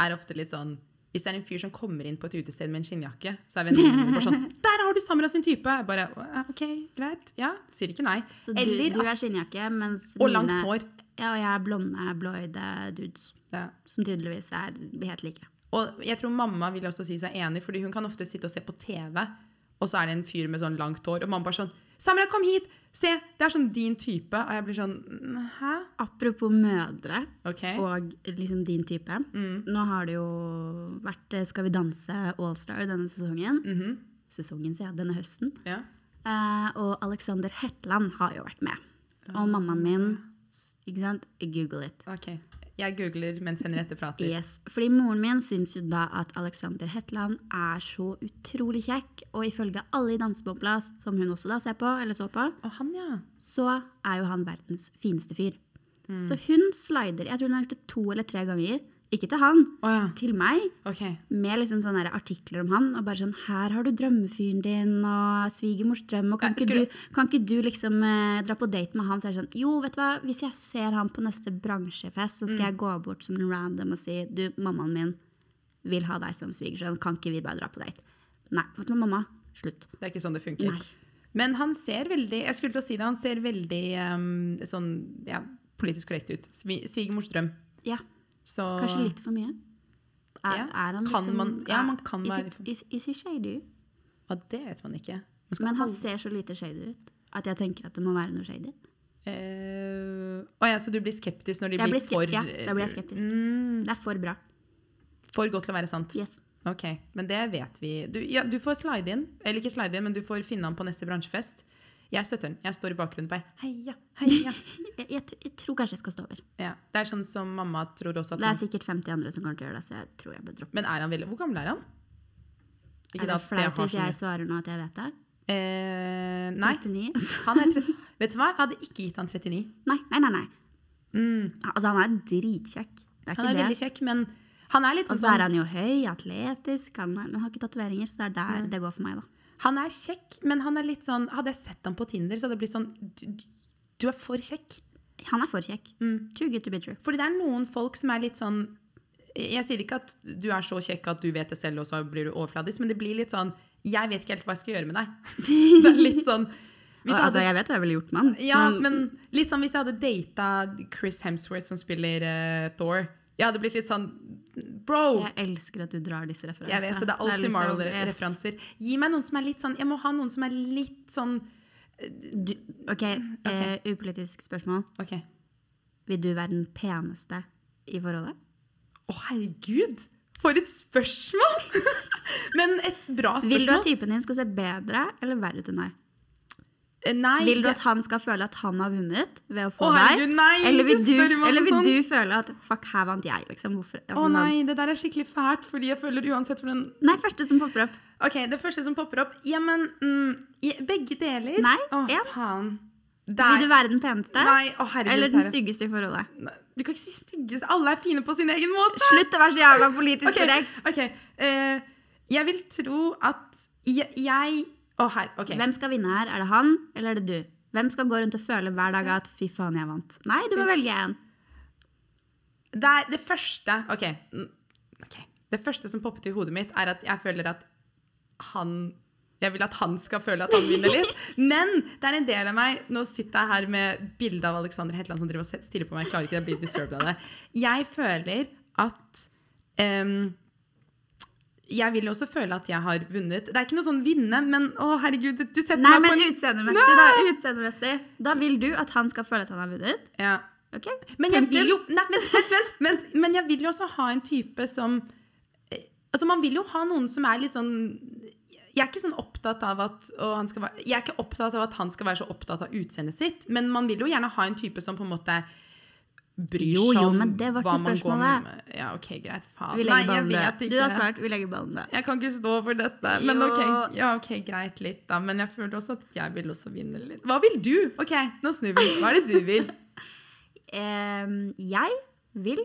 B: er ofte litt sånn Hvis det er en fyr som kommer inn på et utested med en skinnjakke, så er venninnen min bare sånn
A: (laughs)
B: 'Der har du Samra sin type!' Jeg bare «Å, OK, greit. Ja. Sier ikke nei.
A: Så du,
B: Eller
A: du
B: at
A: er skinnjakke, mens
B: Og langt hår.
A: Ja, og jeg er blonde, blåøyde dudes.
B: Ja.
A: Som tydeligvis er helt like.
B: Og jeg tror mamma vil også si seg enig, fordi hun kan ofte sitte og se på TV, og så er det en fyr med sånn langt hår, og mamma bare sånn 'Samra, kom hit! Se! Det er sånn din type.' Og jeg blir sånn «Mm, 'Hæ?'
A: Apropos mødre
B: OK.
A: og liksom din type.
B: Mm.
A: Nå har det jo vært eh, Skal vi danse Allstar denne sesongen.
B: Mm-hmm.
A: Sesongen, sier jeg. Denne høsten.
B: Ja.
A: Eh, og Alexander
B: Ah.
A: Hetland har jo vært med. Og mammaen min s- ikke sant? Google it.
B: OK. Jeg googler mens Henriette prater.
A: Yes, fordi moren min syns jo da at Alexander Hetland er så utrolig kjekk, og ifølge alle i dansebobla, som hun også da ser på, eller så på,
B: Og han, ja.
A: så er jo han verdens fineste fyr. Så hun slider, jeg tror hun har gjort det to eller tre ganger, ikke til han,
B: Å ja.
A: til meg,
B: Ok.
A: med liksom sånne her artikler om han, og bare sånn, her har du drømmefyren din, og svigermors drøm, og kan
B: Ja,
A: ikke,
B: skulle-
A: du, kan ikke du liksom eh, dra på date med han? Så er det sånn, jo, vet du hva, hvis jeg ser han på neste bransjefest, så skal
B: Mm.
A: jeg gå bort som en random og si, du, mammaen min vil ha deg som svigersønn, kan ikke vi bare dra på date? Nei, vet du hva, mamma, slutt.
B: Det er ikke sånn det funker.
A: Nei.
B: Men han ser veldig Jeg skulle til å si det, han ser veldig ehm, sånn ja, politisk korrekt ut. Svi, svigermors drøm.
A: Ja,
B: Så
A: kanskje litt for mye. Er,
B: Ja,
A: er han
B: kan
A: liksom...
B: man- ja, man kan
A: is
B: være
A: he-
B: litt for-
A: Is, is he shady?
B: Ja, det vet man ikke. Man skal
A: Men han
B: aldri-
A: ser så lite shady ut, at jeg tenker at det må være noe shady.
B: Eh, Å ja, så du blir skeptisk når de
A: Jeg
B: blir,
A: blir skep-
B: for
A: ja, da blir jeg skeptisk.
B: Mm,
A: Det er for bra.
B: for godt til å være sant.
A: Yes.
B: Ok, men det vet vi. Du, ja, du får slide inn. Eller ikke slide inn, men du får finne han på neste bransjefest. Jeg støtter han. Jeg står i bakgrunnen bare heia,
A: (laughs)
B: heia.
A: Jeg, jeg, t- jeg tror kanskje jeg skal stå over.
B: ja, det er sånn som mamma tror også at
A: Det er
B: han
A: sikkert 50 andre som kommer til å gjøre det, så jeg tror jeg bør droppe.
B: Men er han veldig Hvor gammel er han?
A: Er det
B: at jeg
A: flaut
B: har
A: hvis
B: så mye-
A: jeg svarer nå at jeg vet det?
B: Eh, nei.
A: 39?
B: Han er
A: (laughs)
B: 30. Vet du hva? Jeg hadde ikke gitt han 39.
A: Nei, nei, nei. nei. Altså, han er dritkjekk. Det er
B: Mm. Han er
A: ikke det.
B: veldig kjekk, men han er litt
A: Og
B: sånn
A: så er
B: som
A: han jo høy, atletisk, han er, men har ikke tatoveringer, så det er der det går for meg, da.
B: Han er kjekk, men han er litt sånn Hadde jeg sett ham på Tinder, så hadde det blitt sånn Du, du er for kjekk.
A: Han er for kjekk.
B: Mm.
A: Too good to be true.
B: Fordi det er noen folk som er litt sånn Jeg sier ikke at du er så kjekk at du vet det selv, og så blir du overfladisk, men det blir litt sånn Jeg vet ikke helt hva jeg skal gjøre med deg. (laughs) Det er litt sånn hvis jeg
A: altså,
B: hadde,
A: jeg vet hva jeg ville gjort med han.
B: ja, men litt sånn hvis jeg hadde data Chris Hemsworth, som spiller eh, Thor Jeg hadde blitt litt sånn Bro!
A: jeg elsker at du drar disse referansene.
B: Jeg vet det, det er alltid
A: liksom-
B: Marvel-referanser. Gi meg noen som er litt sånn Jeg må ha noen som er litt sånn
A: Du, ok, eh, upolitisk spørsmål.
B: OK.
A: Vil du være den peneste i forholdet?
B: Å, herregud! For et spørsmål! (laughs) Men et bra spørsmål.
A: Vil du at typen din skal se bedre eller verre ut enn deg?
B: Eh, Nei,
A: Vil du
B: det-
A: at han skal føle at han har vunnet ved å få
B: Å, herregud,
A: deg?
B: nei,
A: eller vil,
B: ikke
A: du,
B: spør meg om
A: eller vil
B: sånn.
A: du føle at fuck, her vant jeg, liksom? Hvorfor?
B: Å
A: Altså,
B: nei, det der er skikkelig fælt, fordi jeg føler uansett for den
A: nei, første som popper opp.
B: Ok, det første som popper opp Ja, men mm, i- begge deler.
A: Nei,
B: Å,
A: en.
B: faen.
A: Vil du være den peneste?
B: Nei, å herregud.
A: eller den
B: Tara.
A: styggeste i forholdet?
B: Nei, Du kan ikke si styggeste. Alle er fine på sin egen måte.
A: Slutt å være så jævla politisk
B: Ok,
A: korrekt!
B: ok. eh, jeg vil tro at jeg, jeg Å, her. Ok.
A: Hvem skal vinne her? Er det han, eller er det du? Hvem skal gå rundt og føle hver dag at 'fy faen, jeg vant'? Nei, du må velge en.
B: Det, er det første ok, mm, ok. Det første som poppet i hodet mitt, er at jeg føler at han Jeg vil at han skal føle at han vinner
A: (laughs)
B: litt. Men det er en del av meg Nå sitter jeg her med bilde av Alexander Hetland som driver og set- stirrer på meg. Jeg klarer ikke, jeg blir disturbed av det. Jeg føler at em, jeg vil også føle at jeg har vunnet. Det er ikke noe sånn vinne, men å herregud, du setter
A: Nei,
B: meg
A: men
B: på en
A: utseendemessig, da. Utseendemessig. Da vil du at han skal føle at han har vunnet.
B: ja.
A: Ok?
B: Men jeg
A: Punktum.
B: vil jo Nei, vent, vent, vent, vent. Men jeg vil jo også ha en type som eh, Altså, man vil jo ha noen som er litt sånn Jeg er ikke sånn opptatt av at å, han skal være, Jeg er ikke opptatt av at han skal være så opptatt av utseendet sitt, men man vil jo gjerne ha en type som på en måte bryr
A: Jo,
B: seg
A: jo,
B: om
A: men det var ikke
B: hva man går
A: spørsmålet.
B: med. Ja, OK, greit. Faen.
A: Vi
B: Nei,
A: legger
B: jeg
A: ballen
B: vet
A: død. Du
B: ikke.
A: har svart, vi legger ballen død.
B: Jeg kan ikke stå for dette. Men
A: Jo.
B: OK, ja, ok, greit litt, da. Men jeg føler også at jeg vil også vinne litt. Hva vil du? OK, nå snur vi. Hva er det du
A: (laughs)
B: vil?
A: Ehm, jeg vil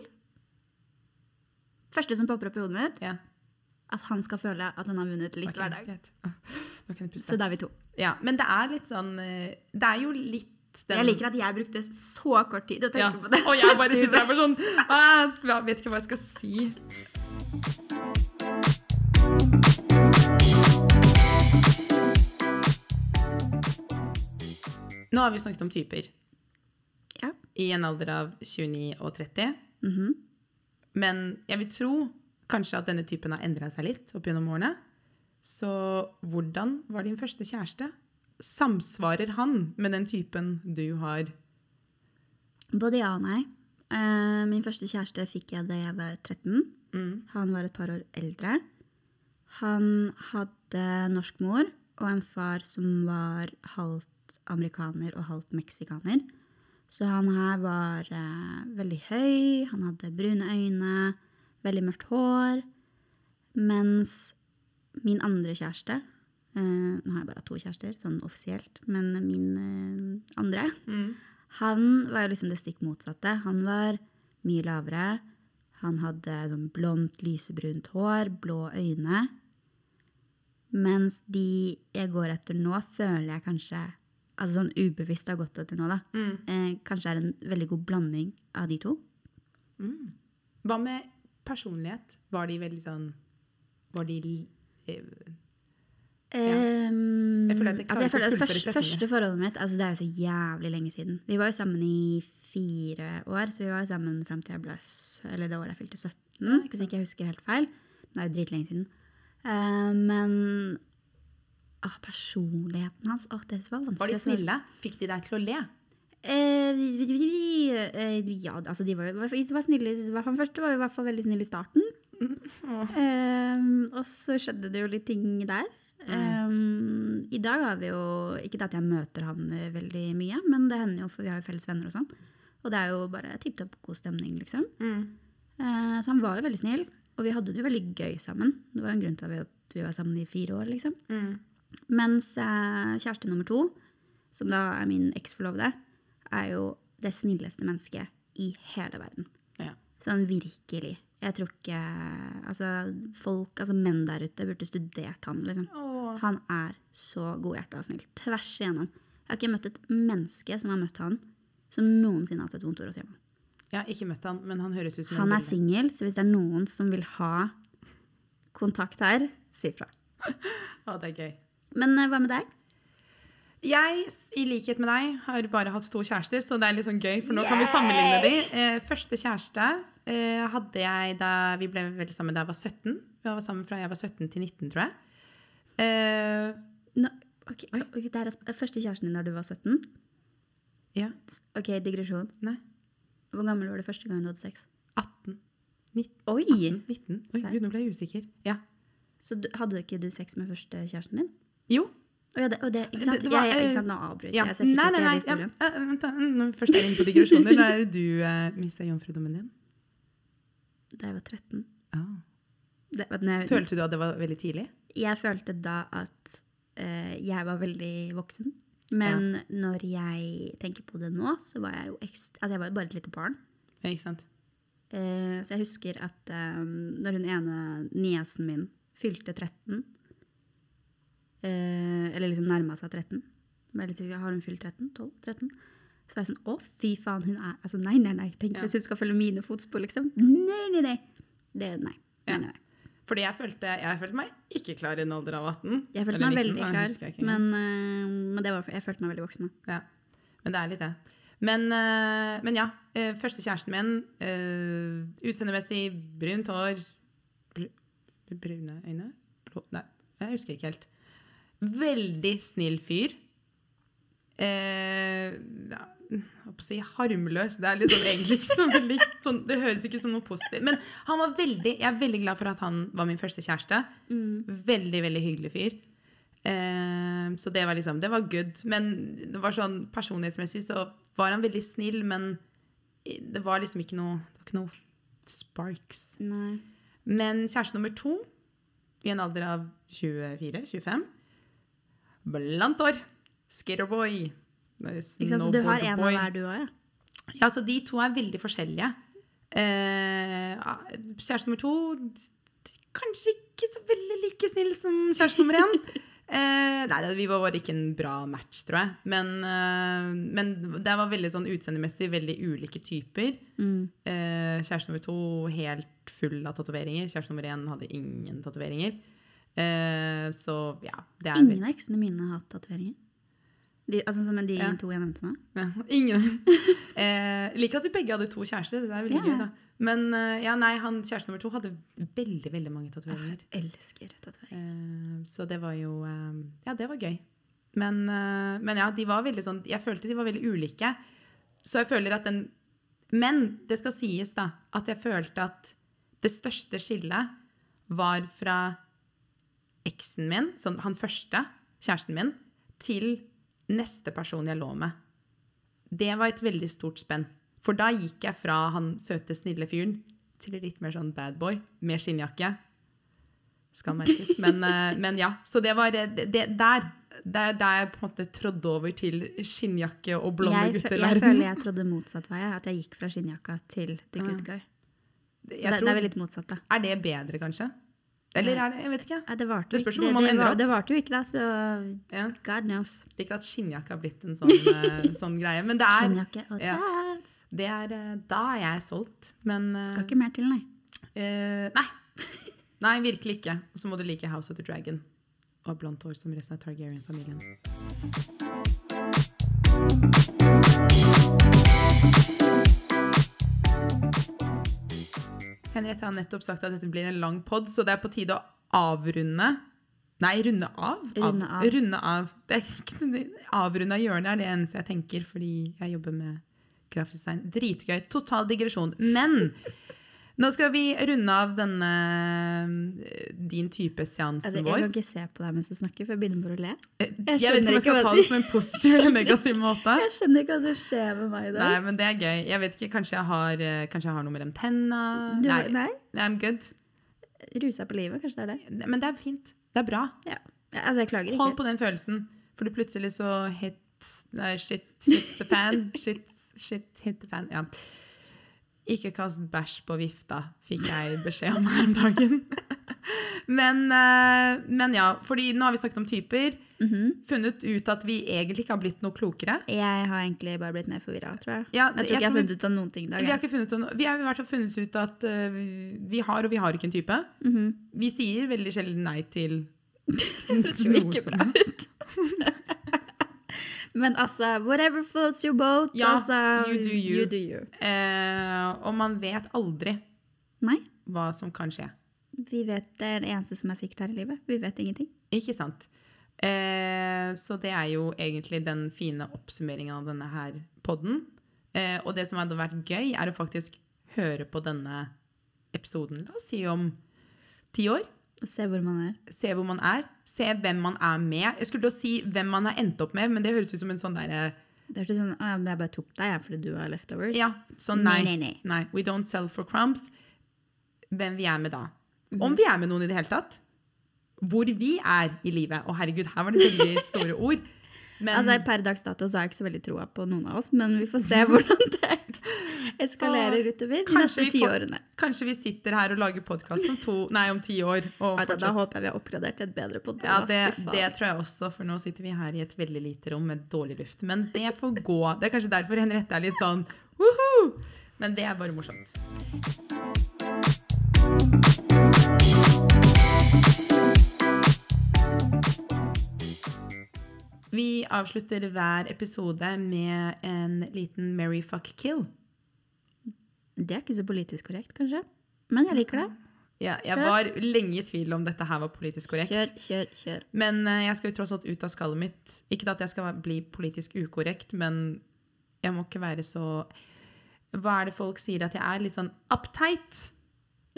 A: Første som popper opp i hodet mitt,
B: Ja.
A: at han skal føle at han har vunnet litt
B: Ok,
A: hver dag.
B: greit. Ah, Nå kan jeg
A: Så
B: puste.
A: da er vi to.
B: Ja, men det er litt sånn eh, Det er jo litt den
A: Jeg liker at jeg brukte så kort tid å tenke
B: ja.
A: på det.
B: Og
A: (laughs)
B: jeg bare sitter her bare sånn ah, Jeg vet ikke hva jeg skal si. Nå har vi snakket om typer
A: Ja. Mhm.
B: i en alder av 29 og 30. Men jeg vil tro kanskje at denne typen har endra seg litt opp gjennom årene. Så hvordan var din første kjæreste? Samsvarer han med den typen du har?
A: Både ja og nei. Eh, min første kjæreste fikk jeg da jeg var 13. Han var et par år eldre. Han hadde norsk mor og en far som var halvt amerikaner og halvt meksikaner. Så han her var eh, veldig høy, han hadde brune øyne, veldig mørkt hår. Mens min andre kjæreste eh, Nå har jeg bare hatt to kjærester, sånn offisielt, men min eh, andre Han var jo liksom det stikk motsatte. Han var mye lavere. Han hadde sånn blondt, lysebrunt hår, blå øyne. Mens de jeg går etter nå, føler jeg kanskje altså sånn ubevisst har gått etter nå, da. Eh, kanskje er en veldig god blanding av de to.
B: Hva med personlighet? Var de veldig sånn Var de li- eh,
A: Ehm,
B: Jeg føler at jeg klarer
A: altså jeg
B: ikke å
A: føler at
B: fullføre
A: første,
B: setningen.
A: første forholdet mitt altså Det er jo så jævlig lenge siden. Vi var jo sammen i fire år, så vi var jo sammen fram til jeg ble s- Eller det året jeg fylte 17, hvis ikke jeg husker helt feil. Det er jo dritlenge siden. Eh, men ah, personligheten hans Åh, det var vanskelig.
B: Var de
A: å svare
B: snille? Fikk de deg til å le?
A: Eh, de- de- de- de- eh, ja, altså de var, jo- de var snille. i hvert fall- Den første var jo i hvert fall veldig snill i starten. Eh, og så skjedde det jo litt ting der. Eh, I dag har vi jo Ikke det at jeg møter han eh, veldig mye, men det hender jo, for vi har jo felles venner og sånn. Og det er jo bare tipp topp god stemning, liksom. Eh, så han var jo veldig snill, og vi hadde det jo veldig gøy sammen. Det var jo en grunn til at vi- at vi var sammen i fire år, liksom. Mens eh, kjæreste nummer to, som da er min eksforlovede, er jo det snilleste mennesket i hele verden.
B: Ja.
A: Sånn virkelig. Jeg tror ikke Altså, folk, altså menn der ute burde studert han, liksom.
B: Åh.
A: Han er så godhjerta og snill. Tvers igjennom. Jeg har ikke møtt et menneske som har møtt han, som noensinne har hatt et vondt ord å si om han.
B: Jeg har ikke møtt han, men han høres ut som
A: Han
B: en
A: er
B: veldig-
A: singel, så hvis det er noen som vil ha kontakt her, si fra.
B: Å, det er gøy.
A: Men eh, hva med deg?
B: Jeg, s- i likhet med deg, har bare hatt to kjærester, så det er litt sånn gøy, for nå kan vi sammenligne de. Eh, første kjæreste eh, hadde jeg da vi ble veldig sammen da jeg var 17. Vi var sammen fra jeg var 17 til 19, tror jeg. Eh,
A: Nå, ok, ok, det er sp- første kjæresten din da du var 17.
B: ja,
A: Ok, digresjon.
B: nei,
A: Hvor gammel var du første gang du hadde sex?
B: 18. 19.
A: Oi!
B: 19. Oi,
A: Serr?
B: gud, nå ble jeg usikker. Ja.
A: Så du, hadde ikke du sex med første kjæresten din?
B: Jo.
A: Å ja, det, og det, ikke sant?
B: Det- det var,
A: jeg, ikke
B: eh,
A: sant? Nå avbryter
B: Ja.
A: jeg, så jeg fikk ikke hele
B: ja,
A: historien.
B: eh, vent da, mm, Når vi først er inne på digresjoner, da er det du uh, mista jomfrudommen din.
A: Da jeg var 13.
B: Ah.
A: Det, vet du, når jeg,
B: Følte du at det var veldig tidlig?
A: jeg følte da at eh, jeg var veldig voksen. Men når jeg tenker på det nå, så var jeg jo ekst... Altså, jeg var jo bare et lite barn.
B: Ja, ikke sant?
A: Eh, så jeg husker at eh, når hun ene niesen min fylte 13, eh, eller liksom nærma seg 13 ble jeg litt usikker, Har hun fylt 13? 12? 13? Så var jeg sånn Å, fy faen, hun er Altså, nei, nei, nei. Tenk
B: Ja.
A: hvis hun skal følge mine fotspor, liksom. Nei, nei, nei. Det, nei.
B: Ja.
A: nei, nei, nei.
B: Fordi jeg følte, jeg følte meg ikke klar i en alder av 18.
A: Jeg følte meg
B: Eller 19,
A: veldig
B: jeg
A: klar,
B: Ah, husker ikke engang.
A: men, eh, men det var, jeg følte meg veldig voksen. da.
B: Ja. Men det er litt det. Men, eh, men ja, eh, første kjæresten min, eh, utseendemessig brunt hår, br brune øyne, blå, nei, jeg husker ikke helt. Veldig snill fyr. Eh, ja, jeg holdt på å si harmløs. Det er litt sånn egentlig ikke så veldig sånn, Det høres ikke som noe positivt. Men han var veldig, jeg er veldig glad for at han var min første kjæreste. Mm. Veldig, veldig hyggelig fyr. Eh, så det var liksom Det var good. Men det var sånn personlighetsmessig så var han veldig snill, men det var liksom ikke noe Det var ikke noe sparks.
A: Nei.
B: Men kjæreste nummer to, i en alder av 24-25, blant år, skaterboy,
A: Ikke sant? Så du har en av
B: snowboardboy.
A: hver, du òg, ja?
B: Ja, så de to er veldig forskjellige. Eh, kjæreste nummer to, kanskje ikke så veldig like snill som kjæreste nummer én. Eh, nei, det- vi var bare ikke en bra match, tror jeg. Men, eh, men det var veldig sånn utseendemessig veldig ulike typer. Eh, kjæreste nummer to helt full av tatoveringer. Kjæreste nummer én hadde ingen tatoveringer. Eh, så ja, det er
A: Ingen av eksene mine har hatt tatoveringer. De- Altså, som de
B: Ja.
A: to jeg nevnte nå.
B: Ja, ingen. (laughs) Eh, liker at vi begge hadde to kjærester. Det er veldig
A: Ja.
B: gøy, da. Men eh, ja, nei, han kjæresten nummer to hadde veldig, veldig mange tatoveringer.
A: Elsker tatoveringer.
B: Eh, så det var jo eh, Ja, det var gøy. Men, eh, men ja, de var veldig sånn Jeg følte de var veldig ulike. Så jeg føler at den Men det skal sies, da, at jeg følte at det største skillet var fra eksen min, sånn, han første, kjæresten min, til neste person jeg lå med. Det var et veldig stort spenn. For da gikk jeg fra han søte, snille fyren til litt mer sånn bad boy med skinnjakke. Skal
A: (laughs)
B: merkes. Men, eh, men ja. Så det var eh, det, det, der. Det er der jeg på en måte trådde over til skinnjakke og blonde
A: Jeg, fø- jeg
B: (laughs) gutter-verden.
A: føler jeg trådde motsatt vei. At jeg gikk fra skinnjakka til the good guy. Så
B: Jeg
A: det,
B: tror-
A: det er vel litt motsatt, da.
B: Er det bedre, kanskje? Eller er det Jeg vet ikke.
A: Ja, det varte
B: Det
A: jo
B: spørs
A: ikke.
B: jo hvor man
A: det,
B: ender
A: var-
B: opp.
A: det varte jo ikke, da, så
B: Ja.
A: god knows.
B: Liker at skinnjakke har blitt
A: (laughs)
B: en sånn, eh, sånn greie. Men det er,
A: Skinnjakke og
B: Ja.
A: tats.
B: det er eh, Da er jeg solgt. Men eh,
A: Skal ikke mer til, nei.
B: eh, Nei. (laughs) Nei, virkelig ikke. Og så må du like House of the Dragon og blondt hår som resten av Targaryen-familien. Henriette har nettopp sagt at dette blir en lang pod, så det er på tide å avrunde. Nei, runde av.
A: Runde av.
B: runde av. Det er ikke noe- Avrunde av hjørnet er det eneste jeg tenker, fordi jeg jobber med grafisk design. Dritgøy. Total digresjon. Men nå skal vi runde av denne eh, din
A: Altså,
B: type-seansen
A: jeg
B: vår.
A: kan ikke se på deg mens du snakker, for jeg begynner bare å le.
B: Jeg,
A: jeg
B: vet ikke om
A: skjønner
B: jeg skal
A: ikke hva-
B: ta det som en positiv eller
A: (laughs)
B: negativ måte.
A: Jeg skjønner ikke hva som skjer med meg i dag.
B: Nei, men det er gøy. Jeg vet ikke, Kanskje jeg har, eh, kanskje jeg har noe mellom tenna.
A: Du,
B: Nei,
A: nei.
B: I'm good.
A: Rusa på livet, kanskje det er det.
B: Men det er fint. Det er bra.
A: Ja. Ja, altså, jeg klager
B: Hold
A: ikke.
B: på den følelsen. Fordi plutselig så hit Nei, shit hit the
A: (laughs)
B: fan. Shit, shit hit the fan. Ja. Ikke kast bæsj på vifta, fikk jeg beskjed om her om dagen. (laughs) Men, eh, men ja, fordi nå har vi snakket om typer.
A: Mhm.
B: Funnet ut at vi egentlig ikke har blitt noe klokere.
A: Jeg har egentlig bare blitt mer forvirra, tror jeg.
B: Ja,
A: jeg tror ikke jeg har funnet ut av noen ting i dag.
B: Vi
A: jeg.
B: har, ikke funnet, ut- vi har i hvert fall funnet ut at eh, vi- vi har og vi har ikke en type.
A: Mhm.
B: Vi sier veldig sjelden nei
A: (laughs)
B: til
A: høres jo
B: noe
A: ikke
B: som-
A: Men altså, whatever floats your boat.
B: Ja,
A: altså,
B: you do you.
A: you do you.
B: Eh, og man vet aldri
A: Nei,
B: hva som kan skje.
A: vi vet det er det eneste som er sikkert her i livet. Vi vet ingenting.
B: Ikke sant? Eh, så det er jo egentlig den fine oppsummeringen av denne her podden. Eh, og det som hadde vært gøy, er å faktisk høre på denne episoden, la oss si om ti år.
A: Se hvor man er.
B: Se hvor man er. Se hvem man er med. Jeg skulle til å si hvem man har endt opp med, men det høres ut som en sånn derre
A: Det er ikke sånn, «Å, men jeg bare tok deg jeg, fordi du har leftovers.
B: Ja, sånn nei.
A: Nei, nei, nei.
B: Nei, We don't sell for crumbs. Hvem vi er med da.
A: Mhm.
B: Om vi er med noen i det hele tatt. Hvor vi er i livet. Å, herregud, her var det
A: (laughs)
B: veldig store ord. Men
A: Altså, per dags dato så har jeg ikke så veldig troa på noen av oss, men vi får
B: (laughs)
A: se hvordan det eskalerer utover de neste
B: vi
A: ti
B: får-
A: årene.
B: kanskje vi sitter her og lager podkast om, to- nei, om ti år. Og
A: Da, da
B: fortsatt-
A: håper jeg vi har oppgradert til et bedre på
B: Ja, det, det tror jeg også, for nå sitter vi her i et veldig lite rom med dårlig luft. Men det får gå. Det er kanskje derfor Henriette er litt sånn woho! Men det er bare morsomt. Vi avslutter hver episode med en liten Mary fuck kill.
A: det er ikke så politisk korrekt, kanskje. Men jeg liker det.
B: Ja, jeg
A: Kjør.
B: var lenge i tvil om dette her var politisk korrekt.
A: Kjør, kjør, kjør.
B: Men eh, jeg skal jo tross alt ut av skallet mitt. Ikke at jeg skal være- bli politisk ukorrekt, men jeg må ikke være så Hva er det folk sier at jeg er? Litt sånn uptight?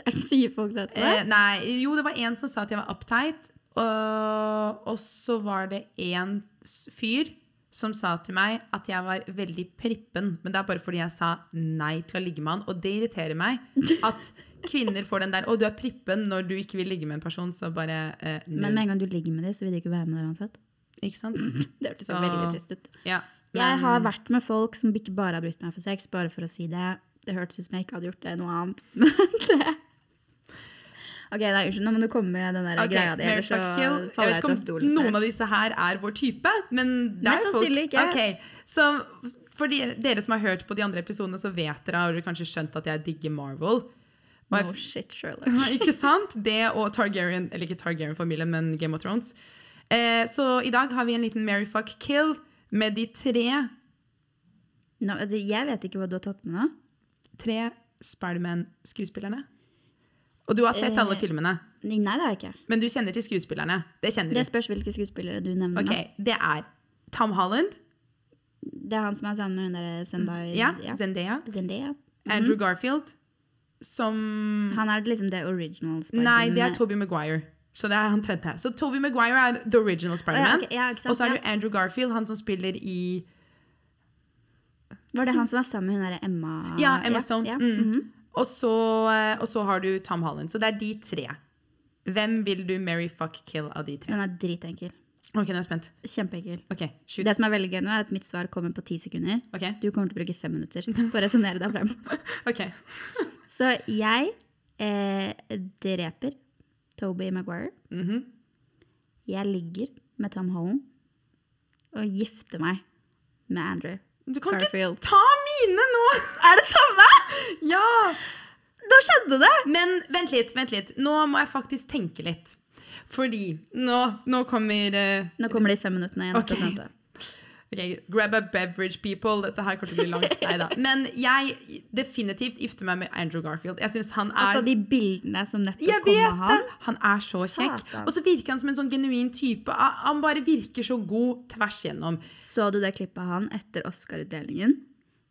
A: Er det sier folk det til
B: Eh,
A: deg?
B: nei, jo, det var en som sa at jeg var uptight. Og, og så var det en s- fyr som sa til meg at jeg var veldig prippen. Men det er bare fordi jeg sa nei til å ligge med han. Og det
A: (laughs)
B: irriterer meg at kvinner får den der 'Å, du er prippen' når du ikke vil ligge med en person. Så bare eh,
A: Men
B: no.
A: med en gang du ligger med dem, så vil de ikke være med deg uansett.
B: Ikke sant?
A: Det hørtes
B: Så-
A: jo veldig trist ut.
B: Ja.
A: Jeg har vært med folk som ikke bare har brukt meg for sex, bare for å si det. Det hørtes ut som jeg ikke hadde gjort det noe annet. (laughs) Men det Ok, nei, unnskyld. Nå må du komme med den der
B: Ok,
A: greia di,
B: Mary
A: ellers så
B: fuck kill.
A: faller jeg
B: Jeg
A: ut
B: vet
A: av
B: ikke
A: stolen.
B: om noen av disse her er vår type, men det
A: Mest
B: er jo folk.
A: sannsynlig ikke.
B: Ok, Så for dere, dere som har hørt på de andre episodene, så vet dere, har dere kanskje skjønt at jeg
A: (laughs)
B: digger Marvel. Og jeg
A: No shit, Sherlock.
B: ikke sant? Det og Targaryen, eller ikke Targaryen-familien, men Game of Thrones. Eh, så i dag har vi en liten Mary fuck kill med de tre,
A: Nå, altså, jeg vet ikke hva du har tatt med nå.
B: tre Spiderman-skuespillerne. Og du har sett alle
A: Eh.
B: filmene,
A: Nei, nei, det har jeg ikke.
B: men du kjenner til skuespillerne. Det kjenner
A: Det
B: du.
A: spørs hvilke skuespillere du nevner.
B: Ok, det er Tom Holland,
A: nå. Det er han som er sammen med hun der Zendaya.
B: ja,
A: ja.
B: Zendaya,
A: Zendaya.
B: Andrew Garfield, som
A: Han er liksom det original
B: Nei, det er
A: Spider-Man.
B: Toby Maguire. Så det er han tredje. Så Toby Maguire er the original Spider-Man.
A: Å ja, ok, ja, ikke sant,
B: og så er
A: ja.
B: det Andrew Garfield, han som spiller i
A: Var det han som var sammen med hun derre Emma?
B: Ja, Emma Stone.
A: Ah, ja.
B: Mm.
A: Mhm.
B: og, så, eh, og så har du Tom Holland. Så det er de tre. Hvem vil du marry, fuck, kill av de tre?
A: Den er dritenkel.
B: Ok, nå er jeg spent.
A: Kjempeenkel.
B: Ok, shoot.
A: Det som er veldig gøy nå, er at mitt svar kommer på ti sekunder.
B: Ok,
A: Du kommer til å bruke fem minutter på å resonnere deg
B: (laughs)
A: frem.
B: ok.
A: Så jeg eh, dreper Toby Maguire.
B: Mhm.
A: Jeg ligger med Tom Holland og gifter meg med Andrew.
B: Du kan
A: Garfield.
B: ikke ta mine nå!
A: Er det samme?!
B: Ja!
A: Nå skjedde det!
B: Men vent litt, vent litt. Nå må jeg faktisk tenke litt. Fordi nå, nå kommer eh,
A: Nå kommer de fem minuttene igjen.
B: Ok. Ok, grab a beverage, people. Dette her kanskje blir
A: (laughs)
B: langt. Neida. Men jeg definitivt gifter meg med Andrew Garfield. Jeg synes han er...
A: Altså de bildene som nettopp
B: jeg
A: kom
B: vet
A: av
B: det!
A: han.
B: Han er så kjekk.
A: Satan.
B: Og så virker han som en sånn genuin type. Han bare virker så god tvers gjennom.
A: Så du det klippet av han etter Oscar-utdelingen?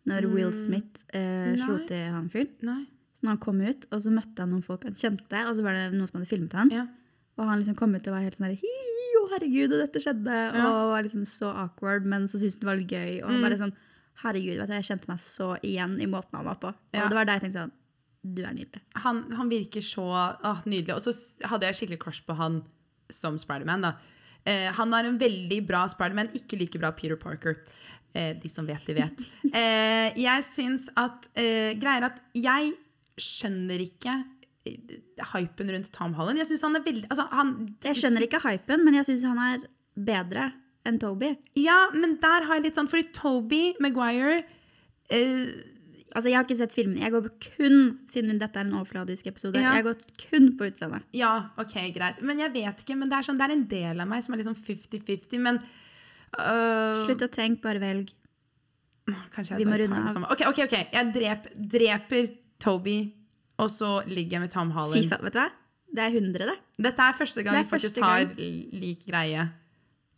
A: Når Will Smith eh, slo
B: Mm. Nei.
A: til han fyren?
B: Nei.
A: Så når han kom ut, og så møtte han noen folk han kjente, og så var det noen som hadde filmet han.
B: Ja.
A: Og han liksom kom ut og var helt sånn der, hi, å herregud, og dette skjedde. Og var liksom så awkward, men så syntes han det var litt gøy.
B: Mm.
A: Og bare sånn, herregud, vet du, jeg kjente meg så igjen i måten han var på. Og
B: Ja.
A: det var der jeg tenkte sånn, du er nydelig.
B: Han, han virker så ah, nydelig. Og så s- hadde jeg skikkelig crush på han som Spiderman. da. Eh, han er en veldig bra Spiderman, ikke like bra Peter Parker. Eh, de som vet, de
A: (laughs)
B: vet. Eh, jeg syns at eh, Greier at jeg skjønner ikke eh, hypen rundt Tom Holland. Jeg syns han er veldig altså, han,
A: Jeg skjønner ikke hypen, men jeg synes han er bedre enn Toby.
B: Ja, men der har jeg litt sånn Fordi Toby Maguire eh,
A: Altså, jeg har ikke sett filmen. Jeg går kun, siden dette er en overfladisk episode,
B: Ja.
A: jeg har gått kun på utseendet.
B: Ja, ok, greit. Men jeg vet ikke. Men det er, sånn, det er en del av meg som er liksom 50-50, men øh,
A: Slutt å tenke, bare velg.
B: Kanskje
A: Vi
B: jeg
A: må
B: bare
A: runde
B: tar
A: av.
B: det samme. Ok, ok, ok. Jeg drep, dreper Toby, og så ligger jeg med Tom
A: Fy
B: Holland.
A: faen, vet du hva? Det er hundre, det.
B: Dette er første gang
A: Det er
B: vi faktisk
A: første gang.
B: har lik greie.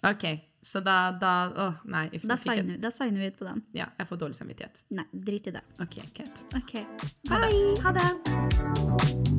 B: Ok, så da, da Åh, nei. Jeg
A: Da
B: fikk ikke-
A: signer, vi- da signer vi ut på den.
B: Ja, jeg får dårlig samvittighet.
A: Nei, drit i det.
B: Ok, greit.
A: Ok.
B: Ha det. Ha det.